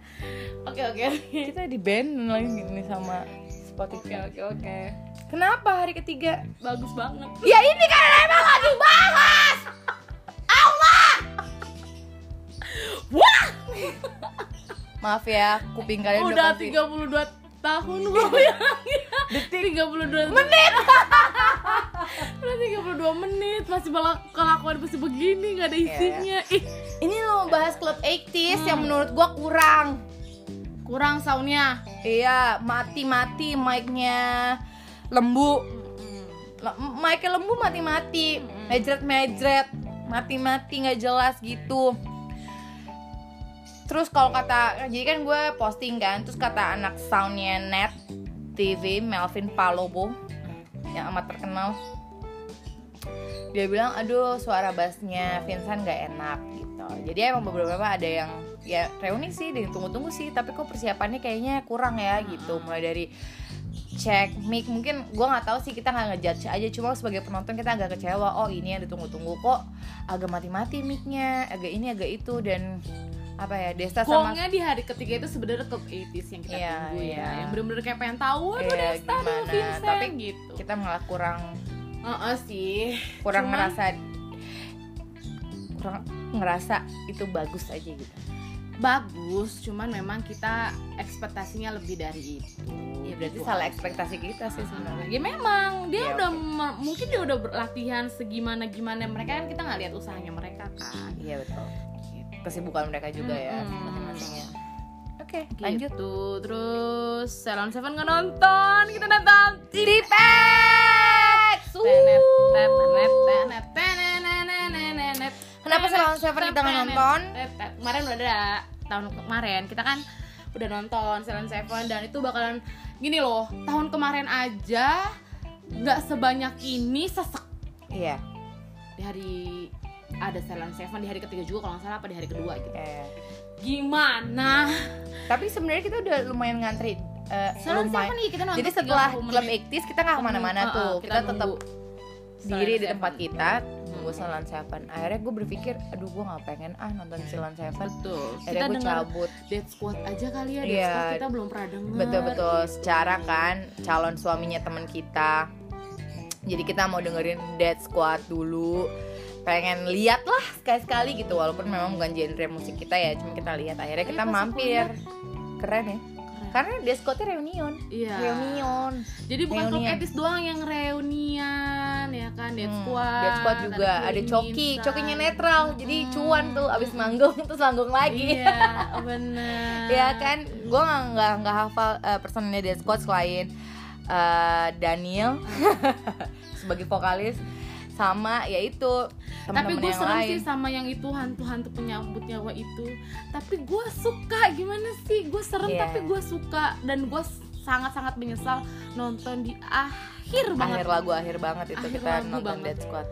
Oke oke. kita di band lagi nih sama Oke Spotify oke oke. kenapa hari ketiga Bagus banget. ya ini karena emang lagi bagus Allah Wah. maaf ya kuping kalian Udah pasti- 32 tahun gue Iya. bilangnya. Detik 32 menit. Udah 32 menit masih bala kelakuan masih Iya, begini nggak ada isinya. Ih, Ini lo mau bahas klub 80s yang menurut gua kurang. kurang soundnya. Iya, mati-mati mic-nya lembu. Le- Mic-nya lembu mati-mati. Mejret-mejret. Mati-mati nggak jelas gitu. Terus kalau kata, jadi kan gue posting kan, terus kata anak soundnya Net TV, Melvin Palobo, yang amat terkenal. Dia bilang, aduh suara bassnya Vincent gak enak gitu. Jadi emang beberapa ada yang ya reuni sih, dan tunggu-tunggu sih, tapi kok persiapannya kayaknya kurang ya gitu. Mulai dari cek mic mungkin gue nggak tahu sih kita nggak ngejudge aja cuma sebagai penonton kita agak kecewa oh ini yang ditunggu-tunggu kok agak mati-mati micnya agak ini agak itu dan apa ya Desta sama Kuangnya di hari ketiga itu sebenarnya ke 80s yang kita Iya, tunggu ya. iya. Yang bener-bener kayak pengen tahu aduh Iya, Desta aduh gimana. Vincent Tapi gitu. kita malah kurang Heeh sih. kurang Cuman- ngerasa kurang ngerasa itu bagus aja gitu Bagus, cuman memang kita ekspektasinya lebih dari itu. ya berarti Gitu salah aja. ekspektasi kita sih sebenarnya Ya memang Ya, dia udah me- mungkin dia udah berlatihan segimana gimana mereka kan kita nggak lihat usahanya mereka kan. iya betul kesibukan mereka juga ya Mm-mm. masing-masingnya oke Gitu. lanjut Terus Salon Seven nggak nonton kita nonton. Cipex Tenet, Wuh. tenet, tenet, tenet, tenet, tenet, tenet. Kenapa Salon Seven kita nggak nonton? Tenet, tenet. Kemarin udah ada tahun kemarin kita kan udah nonton Salon Seven dan itu bakalan gini loh tahun kemarin aja nggak sebanyak ini sesek iya di hari ada Silent Seven di hari ketiga juga kalau nggak salah apa di hari kedua gitu eh. gimana tapi sebenarnya kita udah lumayan ngantri eh, Silent lumayan Seven nih kita nonton jadi setelah 30 klub menit. ektis kita nggak kemana-mana Heeh, tuh kita, tetap nunggu diri di Silent tempat Seven. Hmm. kita tunggu gue Silent Seven akhirnya gue berpikir aduh gue nggak pengen ah nonton Silent Seven betul akhirnya Hmm. kita gue dengar Hmm. cabut Dead Squad aja kali ya Dead Iya. Squad kita belum pernah denger betul betul secara kan calon suaminya teman kita jadi kita mau dengerin Dead Squad dulu pengen lihat lah sekali sekali gitu walaupun memang bukan genre musik kita ya cuma kita lihat akhirnya Tapi kita Iya, pas aku mampir lihat- keren ya karena Dead Squadnya reunion Iya. reunion Jadi bukan klub Reunion. etis doang yang reunian ya kan Dead Hmm, Squad. Dead Squad juga ada Queen Coki Insan. Cokinya netral jadi Hmm. cuan tuh abis manggung terus manggung lagi Iya, benar. ya kan gue nggak nggak nggak hafal eh, personilnya Dead Squad selain eh, Daniel sebagai vokalis sama yaitu Tapi teman-teman gue yang serem lain sih sama yang itu hantu-hantu penyambut nyawa itu. Tapi gue suka gimana sih? Gue serem Iya. tapi gue suka dan gue sangat-sangat menyesal nonton di akhir banget. akhir lagu akhir banget itu Akhir kita lagu nonton banget. Dead Squad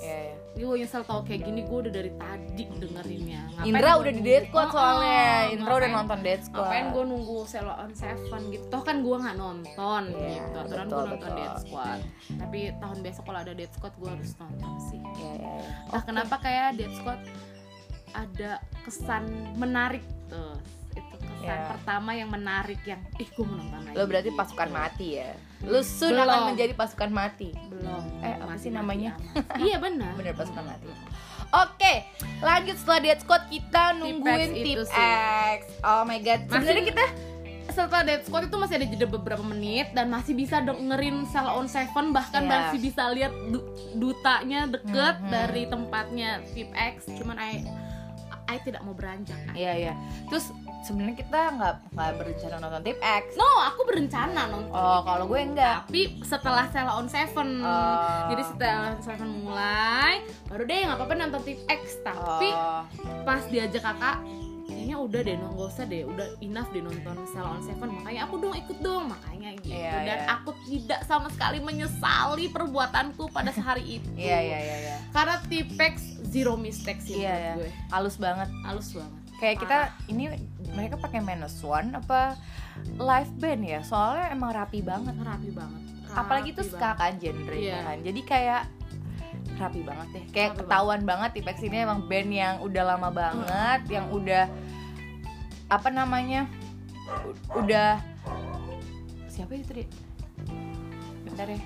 Iya, iya. Gue nyesel tau kayak gini gue udah dari tadi dengerinnya. Ngapain Indra gua udah di nunggu? Dead Squad Oh, oh, soalnya Indra udah ngapain- nonton Dead Squad Ngapain gue nunggu Selo on Seven gitu Toh kan gue gak nonton Iya, gitu Aturan betul, gue nonton betul. Dead Squad Tapi tahun besok kalau ada Dead Squad gue harus nonton sih Iya, iya, iya. Nah kenapa kayak Dead Squad ada kesan menarik tuh Itu kesan Iya. pertama yang menarik yang Ih gue mau nonton lagi Lo berarti gitu. pasukan mati ya? Lo soon Belum. akan menjadi pasukan mati Belum Eh, apa sih Masih-masih namanya? amat. Iya benar Bener pasukan mati Oke, lanjut setelah Dead Squad kita nungguin itu tip sih. X Oh my god, sebenarnya kita setelah Dead Squad itu masih ada jeda beberapa menit dan masih bisa dengerin Cell on Seven bahkan Iya. masih bisa lihat du- dutanya deket Mhm. dari tempatnya Tip X cuman I I tidak mau beranjak I- Iya, iya Terus sebenarnya kita nggak nggak berencana nonton tip X No, aku berencana nonton Oh, kalau gue enggak tapi setelah Cell on Seven Oh. jadi setelah Cell on Seven mulai baru deh nggak apa-apa nonton Tip X tapi Oh, pas diajak kakak kayaknya udah deh no, nggak usah deh udah enough deh nonton Salon Seven makanya aku dong ikut dong makanya gitu Iya, dan iya. aku tidak sama sekali menyesali perbuatanku pada sehari itu Iya, iya, iya, iya karena Tipex zero mistakes sih Iya, menurut gue Halus banget halus banget Kayak kita, ini mereka pakai minus one apa live band ya? Soalnya emang rapi banget rapi banget Nah, Rapi apalagi itu ska banget. kan genre Iya. kan jadi kayak rapi banget deh kayak Rapi ketahuan banget Tipex ini emang band yang udah lama banget yang Hmm. udah apa namanya u- udah siapa itu Dri? bentar ya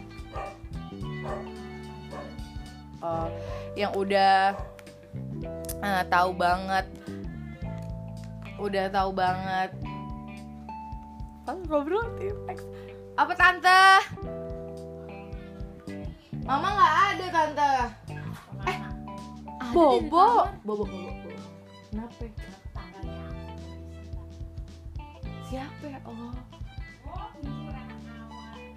Oh, yang udah eh, tahu banget udah tahu banget apa ngobrol Tipex apa tante mama nggak ada tante "Eh, Ada di bobo kamar. bobo bobo bobo. kenapa ya?" siapa ya? oh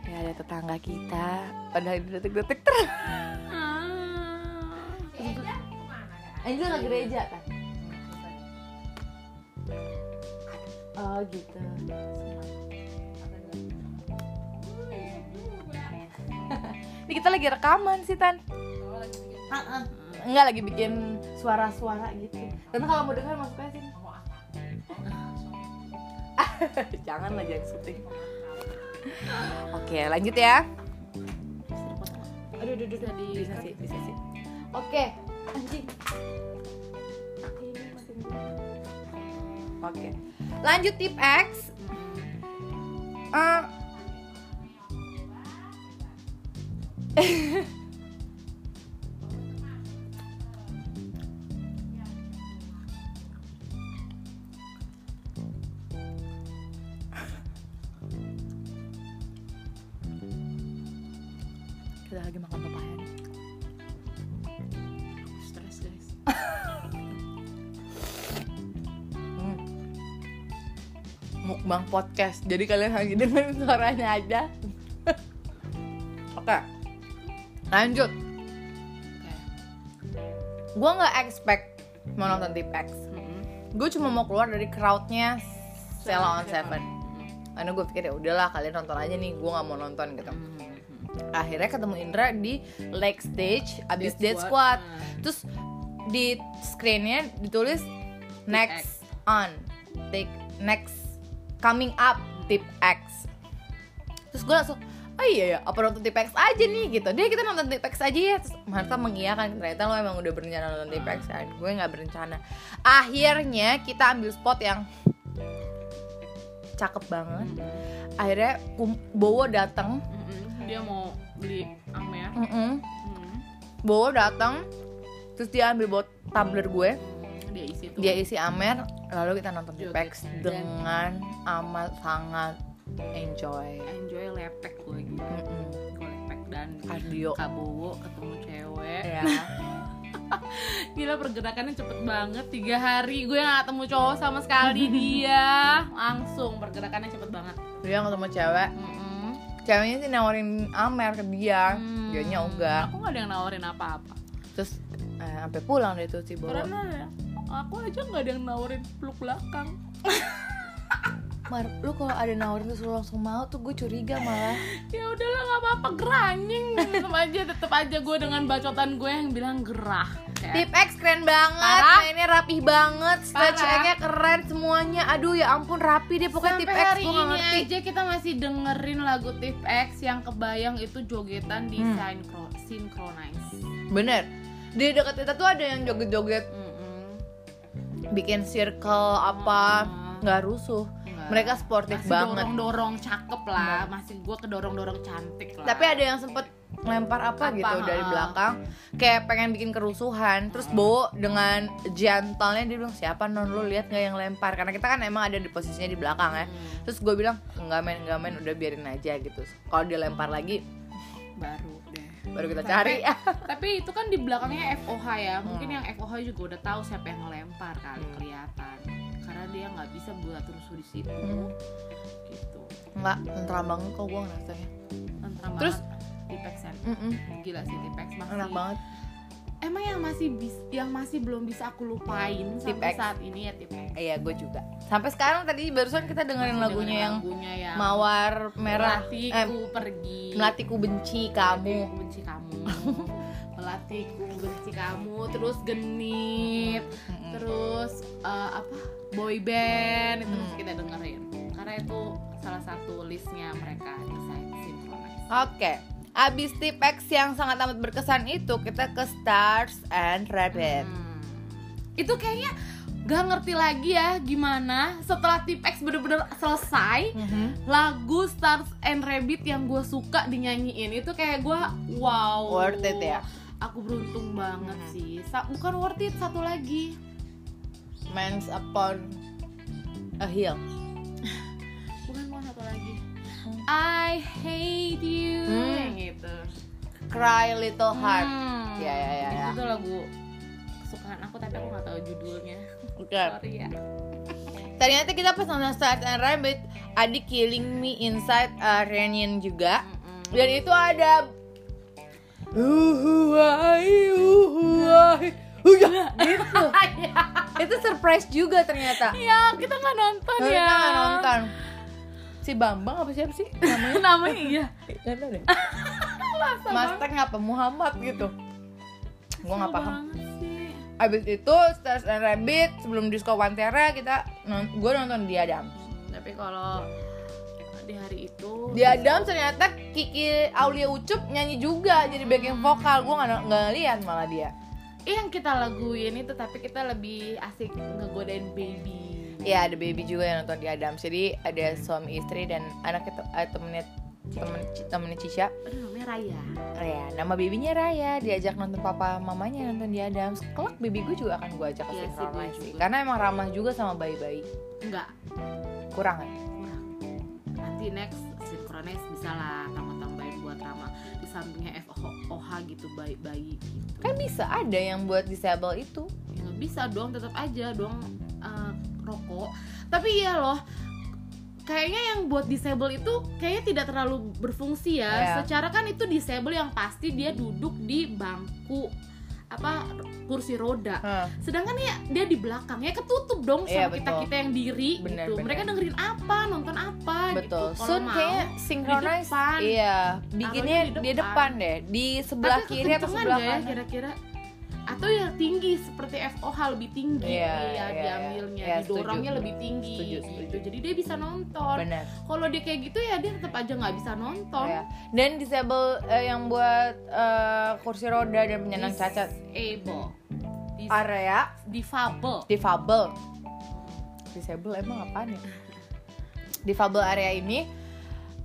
ya ada tetangga kita padahal di detik-detik ter Ah. Angel ke gereja kan oh gitu ini kita lagi rekaman sih tan Enggak lagi bikin suara-suara gitu. Tante kalau mau dengar masuk aja sini. Jangan lah jangan syuting. Oke, lanjut ya. aduh aduh aduh aduh. Bisa sih, bisa sih. Oke, anjing. Ini masih merah. Oke. Lanjut tip X. Eh, kita lagi makan pepaya nih. stres guys Hmm. Mukbang podcast. Jadi kalian lagi dengerin suaranya aja. Oke. Lanjut. Oke. Gua nggak expect mau nonton tip X. Mm-mm. Gue cuma mau keluar dari crowdnya Sela on Seven. Mm-mm. Karena gue pikir ya udahlah kalian nonton aja nih, gue nggak mau nonton gitu. Akhirnya ketemu Indra di Lake Stage abis Dead Squad. Ah. Terus di screennya ditulis next on, take next coming up tip X. Terus gue langsung, oh iya ya apa nonton TPX aja nih gitu deh kita nonton TPX aja ya Terus Marta mengiyakan ternyata lo emang udah berencana nonton TPX kan gue nggak berencana akhirnya kita ambil spot yang cakep banget akhirnya Kum- Bowo datang Mm-mm. dia mau beli Amer Mm-mm. Mm. Bowo datang terus dia ambil buat tumbler gue dia isi tuh dia isi Amer lalu kita nonton Joget. TPX Dan- dengan amat sangat enjoy enjoy lepek gue lagi Mm-mm. gue lepek dan Kardio Kak Bowo ketemu cewek ya Gila pergerakannya cepet banget Tiga hari gue gak ketemu cowok sama sekali dia Langsung pergerakannya cepet banget dia ketemu cewek Mm-mm. ceweknya sih nawarin Amer ke dia Hmm. dia nya enggak Aku gak ada yang nawarin apa-apa terus eh, sampai pulang deh tuh si Bowo Karena aku aja gak ada yang nawarin peluk belakang Mar, lu kalau ada nawarin terus lu langsung mau tuh gue curiga malah Ya udahlah gak apa-apa geranying Tetep aja tetep aja gue dengan bacotan gue yang bilang gerah Kayak Tip X keren banget, Parah. mainnya rapih banget, Parah. stretchingnya keren semuanya Aduh ya ampun rapi deh pokoknya Tip Sampai X hari gue gak ini ngerti aja kita masih dengerin lagu Tip X yang kebayang itu jogetan di Hmm. synchro- synchronize. Bener, di dekat kita tuh ada yang joget-joget Mm-mm. bikin circle apa Hmm. nggak rusuh Nggak. mereka sportif masih banget dorong-dorong cakep lah masih gue kedorong-dorong cantik lah tapi ada yang sempet lempar apa, Apa, gitu dari ha-ha. belakang kayak pengen bikin kerusuhan terus Bowo dengan gentlenya dia bilang siapa non lu lihat nggak yang lempar karena kita kan emang ada di posisinya di belakang ya Hmm, terus gue bilang nggak main nggak main udah biarin aja gitu kalau dia lempar lagi baru deh baru kita Sampai- cari tapi itu kan di belakangnya FOH ya mungkin yang FOH juga udah tahu siapa yang ngelempar kali Hmm. kelihatan karena dia nggak bisa buat rusuh di situ Hmm. gitu nggak tentram banget kok gue ngerasanya Tentram Terus- banget tipex-an. Mm-mm, gila sih tipex masih enak banget emang yang masih bis- yang masih belum bisa aku lupain Hmm, sampai Tipex. saat ini ya tipex iya gue juga sampai sekarang tadi barusan kita dengerin lagunya yang lagunya yang mawar merah eh, Melatihku pergi melatiku benci kamu Melatihku benci kamu melatihku benci kamu terus genit Mm-mm. terus eh, apa boy band itu Hmm. masih kita dengerin karena itu salah satu listnya mereka desain synchronize Oke, abis Tipex yang sangat amat berkesan itu kita ke Stars and Rabbit. Hmm. itu kayaknya gak ngerti lagi ya gimana setelah tipex bener-bener selesai Mm-hmm. lagu Stars and Rabbit yang gue suka dinyanyiin itu kayak gue wow Worth it ya? aku beruntung banget Mhm. sih Sa- bukan worth it satu lagi Man's upon a hill. bukan bukan satu lagi I hate you Hmm. yang gitu Cry little heart. Hmm. Ya, ya, ya, ya. itu tuh lagu kesukaan aku tapi aku gak tahu judulnya Oke. sorry ya Ternyata kita pas nonton Stars and Rabbit, ada Killing Me Inside a Reunion juga. Mm-mm. Dan itu ada Uhuai, uhuai, uyah. gitu. itu surprise juga ternyata. ya kita nggak nonton Kita ya nggak nonton. Si Bambang apa siapa sih? namanya namanya iya Gak tau deh. Mas Teng apa Muhammad gitu. Gue nggak paham. Banget sih. Abis itu Stars and Rabbit sebelum disco Pantera kita non gue nonton Diadam. tapi kalau di hari itu Diadam ternyata Kiki Aulia Ucup nyanyi juga jadi backing vokal. Gue nggak nggak lihat malah dia. Eh, yang kita laguin itu tapi kita lebih asik ngegodain baby Ya ada baby juga yang nonton Diadam. Jadi ada suami istri dan anak itu eh, temennya temen temennya Cisha. aduh namanya Raya Raya, nama babynya Raya diajak nonton papa mamanya nonton Diadam. Kelak baby gue juga akan gue ajak ke Iya sih, gue sinkronis sih. juga. Karena emang ramah juga sama bayi-bayi. enggak Kurang ya? kurang nanti next synchronize bisa lah tambah-tambahin buat Rama di sampingnya FOH gitu bayi-bayi gitu kan bisa ada yang buat disable itu ya nggak bisa dong tetap aja dong eh, rokok tapi iya loh kayaknya yang buat disable itu kayaknya tidak terlalu berfungsi ya Iya. secara kan itu disable yang pasti dia duduk di bangku apa kursi roda sedangkan ya dia di belakang ya ketutup dong Iya, sama kita kita yang diri Bener, gitu bener. mereka dengerin apa nonton apa Kan betul gitu Sun kayaknya di synchronize depan. iya bikinnya Taruhnya di di depan. depan deh di sebelah tapi kiri atau kekencengan sebelah nggak ya kanan kira-kira atau ya tinggi seperti FOH lebih tinggi Iya, dia iya, diambilnya iya. Iya, didorongnya setuju. lebih tinggi Setuju, gitu. setuju. jadi dia bisa nonton benar kalau dia kayak gitu ya dia tetap aja nggak bisa nonton Iya. dan disable eh, yang buat eh, kursi roda dan penyandang cacat disable Dis- area difabel difabel disable emang apa nih difabel area ini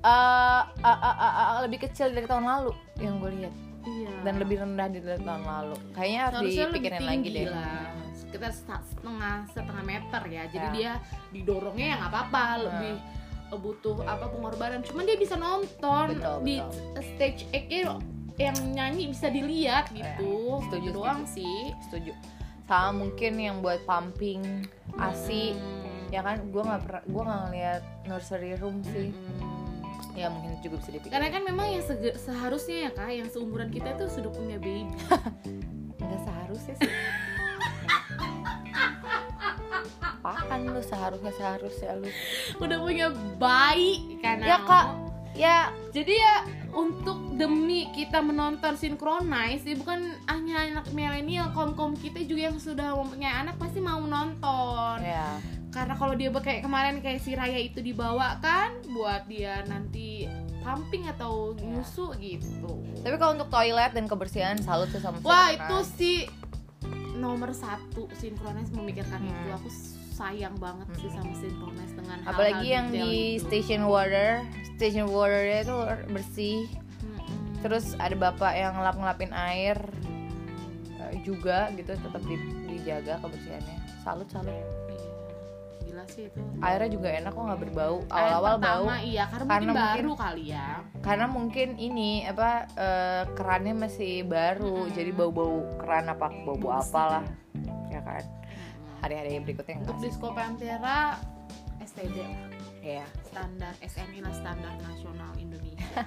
eh, eh, eh, eh, eh, lebih kecil dari tahun lalu yang gue lihat iya dan lebih rendah dari tahun lalu kayaknya harus harusnya lebih dipikirin tinggi lagi deh lah sekitar sta- setengah setengah meter ya jadi Ya. dia didorongnya ya nggak apa-apa lebih eh, butuh apa pengorbanan cuman dia bisa nonton Betul, di betul. stage act yang nyanyi bisa dilihat gitu Ya, setuju, Itu doang sih setuju sama mungkin yang buat pumping asi Hmm. ya kan gue nggak pernah gue nggak ngeliat nursery room sih Hmm. ya mungkin juga bisa dipikirin karena kan memang yang sege- seharusnya ya kak yang seumuran kita tuh sudah punya baby nggak seharusnya sih apaan lu seharusnya seharusnya lu udah punya bayi karena Ya, Kak. ya Jadi ya untuk demi kita menonton Synchronize ya bukan hanya anak milenial, kaum-kaum kita juga yang sudah mempunyai anak pasti mau nonton. ya Karena kalau dia be- kayak kemarin kayak si Raya itu dibawa kan buat dia nanti pumping atau Ya. nyusu gitu. tapi kalau untuk toilet dan kebersihan salut tuh sama kan. Wah, itu Synchronize. sih nomor satu Synchronize memikirkan Hmm. itu. Aku sayang banget sih Hmm. sama Synchronize dengan hal-hal apalagi gitu yang detail di itu. station water station waternya itu bersih Mm-mm. Iya. terus ada bapak yang ngelap ngelapin air eh, juga gitu tetap di- dijaga kebersihannya salut salut Gila sih itu. airnya juga enak kok nggak berbau Air awal-awal bau pertama, iya karena, Karena mungkin mungkin- baru kali ya karena mungkin ini apa eh, kerannya masih baru Mm-mm. Iya, jadi bau-bau keran apa bau-bau Bau apalah ya kan hari-hari berikutnya untuk enggak sih disco pantera STD lah ya standar SNI lah standar nasional Indonesia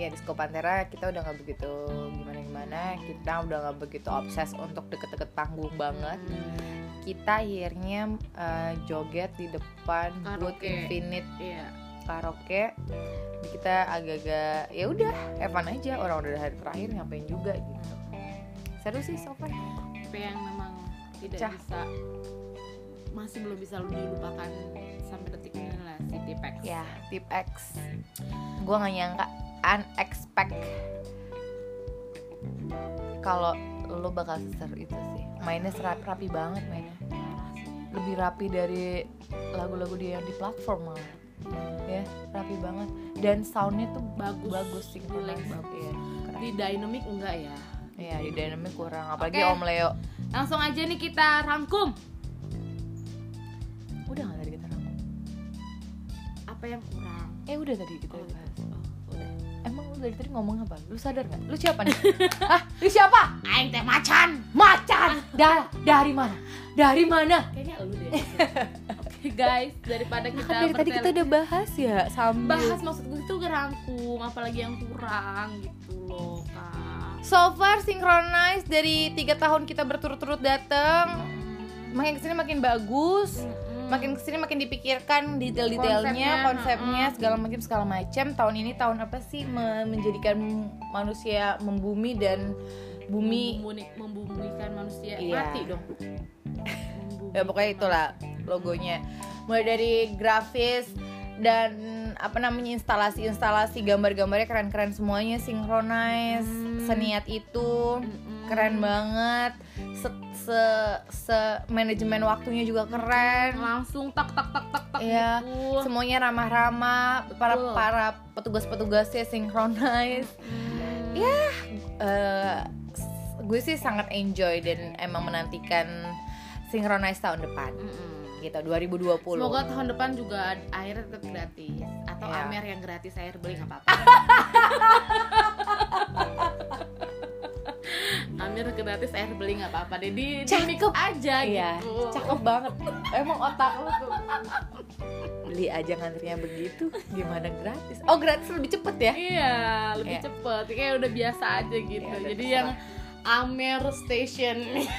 ya disco pantera kita udah nggak begitu gimana gimana kita udah nggak begitu obses untuk deket-deket panggung banget Hmm, kita akhirnya eh, joget di depan Good Karaoke. Infinite iya karaoke Jadi kita agak-agak ya udah Evan aja orang udah hari terakhir ngapain juga gitu seru sih so far apa yang memang tidak Pecah. bisa masih belum bisa dilupakan sampai detik ini lah si Tipex ya tip X gue nggak nyangka unexpect kalau lo bakal seru itu sih mainnya serap rapi banget mainnya Parah sih. lebih rapi dari lagu-lagu dia yang di platform malah ya rapi banget dan soundnya tuh Bagus. bagus sih Relax, bagus. Iya, keren. di dynamic enggak ya Iya, di dynamic kurang apalagi Oke. Om Leo langsung aja nih kita rangkum udah nggak tadi kita rangkum apa yang kurang eh udah tadi kita Oh, bahas oh, udah. emang lu dari tadi ngomong apa lu sadar nggak lu siapa nih Hah? lu siapa Aing teh macan macan da dari mana dari mana kayaknya lu deh Oke, guys daripada kita kan dari tadi kita bertele- udah bahas ya sambil bahas maksud gue itu ngerangkum apalagi yang kurang gitu loh kak so far synchronize dari tiga tahun kita berturut-turut datang makin kesini makin bagus makin kesini makin dipikirkan detail-detailnya Konsepnya, konsepnya mm-mm. segala macam segala macam tahun ini tahun apa sih me- menjadikan manusia membumi dan bumi Membumuni- membumikan manusia Iya. mati dong Membumikan ya pokoknya itulah logonya mulai dari grafis dan apa namanya instalasi-instalasi gambar-gambarnya keren-keren semuanya synchronize Hmm. seniat itu manusia. Mm-mm. keren banget se se, se- manajemen waktunya juga keren langsung tak tak tak tak tak Iya. gitu semuanya ramah-ramah para Betul. para petugas-petugasnya synchronize Hmm. Iya. Eh, s- gue sih sangat enjoy dan emang menantikan synchronize tahun depan Mm-mm. gitu 2020 Semoga tahun depan juga air tetap gratis atau Iya. Amer yang gratis air beli nggak apa-apa. Amer gratis air beli nggak apa-apa. Jadi Cakep. aja Iya, gitu. cakep banget. Emang otak lu tuh. Beli aja ngantrinya begitu, gimana gratis? Oh, gratis lebih cepet ya? Iya, lebih Iya. cepet. Kayak udah biasa aja gitu. Iya, udah Jadi biasa. yang Amer Station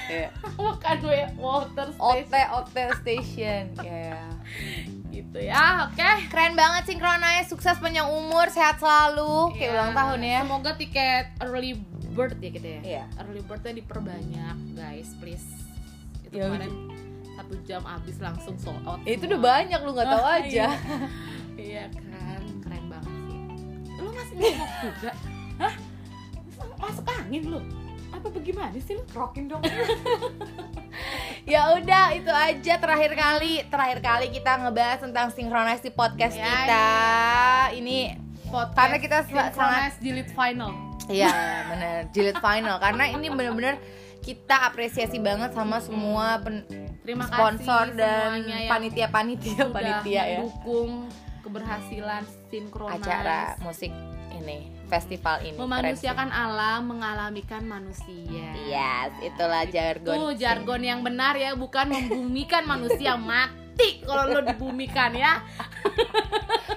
Iya. bukan we- Water OT Station OT station. Iya. gitu ya. Oke. Keren banget sinkronanya, sukses panjang umur, sehat selalu. Kayak Iya. ulang tahun ya. Semoga tiket early bird ya kita ya Iya. early birdnya diperbanyak guys please itu Ya, kemarin satu jam abis langsung sold out Ya, itu semua. udah banyak lu nggak tahu Ah, aja. iya kan keren banget sih lu masih ngomong juga hah masuk angin lu apa bagaimana sih lu Rokin dong. ya udah itu aja terakhir kali terakhir kali kita ngebahas tentang sinkronisasi podcast Ya, kita. Ini podcast Karena kita sel- Synchronize jilid final Iya bener jilid final karena ini bener-bener kita apresiasi banget sama semua pen- terima sponsor kasih dan semuanya yang panitia panitia sudah panitia ya mendukung keberhasilan sinkronis acara musik ini festival ini Keren sih. memanusiakan alam mengalamikan manusia Yes, itulah jargon. Tuh jargon yang benar ya, bukan membumikan manusia mati kalau lo dibumikan ya.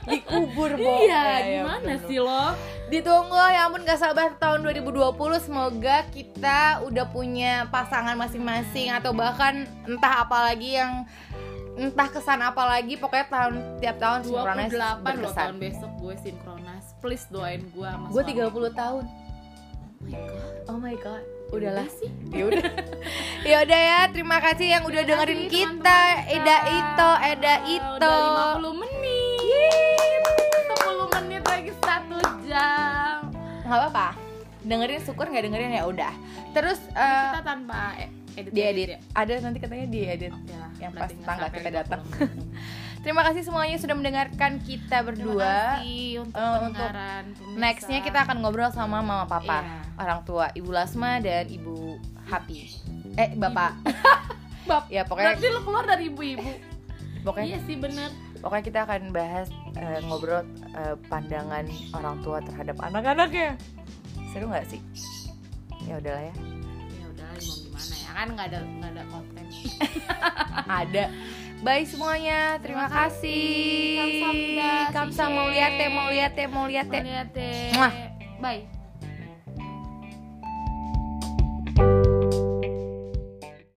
dikubur, Bo. Iya, Ya, ya, gimana bener. sih lo? Ditunggu ya ampun gak sabar tahun 2020 semoga kita udah punya pasangan masing-masing atau bahkan entah apa lagi yang entah kesan apa lagi pokoknya tahun tiap tahun sinkronis 28 lo berkesan. tahun besok gue sinkronas. Please doain gue sama Gue suami. 30 tahun. Oh my God. Oh my god. Udahlah. sih. Ya udah. ya udah ya, terima kasih yang udah Terima dengerin kasih, kita. teman-teman kita. Eda Ito, Eda Ito. Udah 50 menit. 10 menit lagi 1 jam. Gak apa-apa. Dengerin syukur nggak dengerin ya udah. Terus eh, Kita tanpa e- edit. diedit. ya? Ada nanti katanya diedit. Oke lah, Yang berarti pas nggak tanggal sampai kita 50 datang. menit. Terima kasih semuanya sudah mendengarkan kita Terima berdua. kasih untuk Eh, untuk pendengaran. pemirsa. Nextnya kita akan ngobrol sama mama papa, Iya. orang tua, ibu Lasma dan ibu Happy. Eh bapak, Iya. Bab. ya pokoknya Berarti lo keluar dari ibu-ibu. pokoknya Iya sih bener. pokoknya kita akan bahas eh, ngobrol eh, pandangan orang tua terhadap anak-anaknya. Seru nggak sih? Ya udahlah ya. ya udah lah, mau gimana ya kan nggak ada nggak ada konten Ada. Bye semuanya. Terima, Terima kasih. kasih. Kamsahamnida. Kamsa mau lihat teh, mau lihat teh, mau lihat teh. lihat deh Muah. ya, bye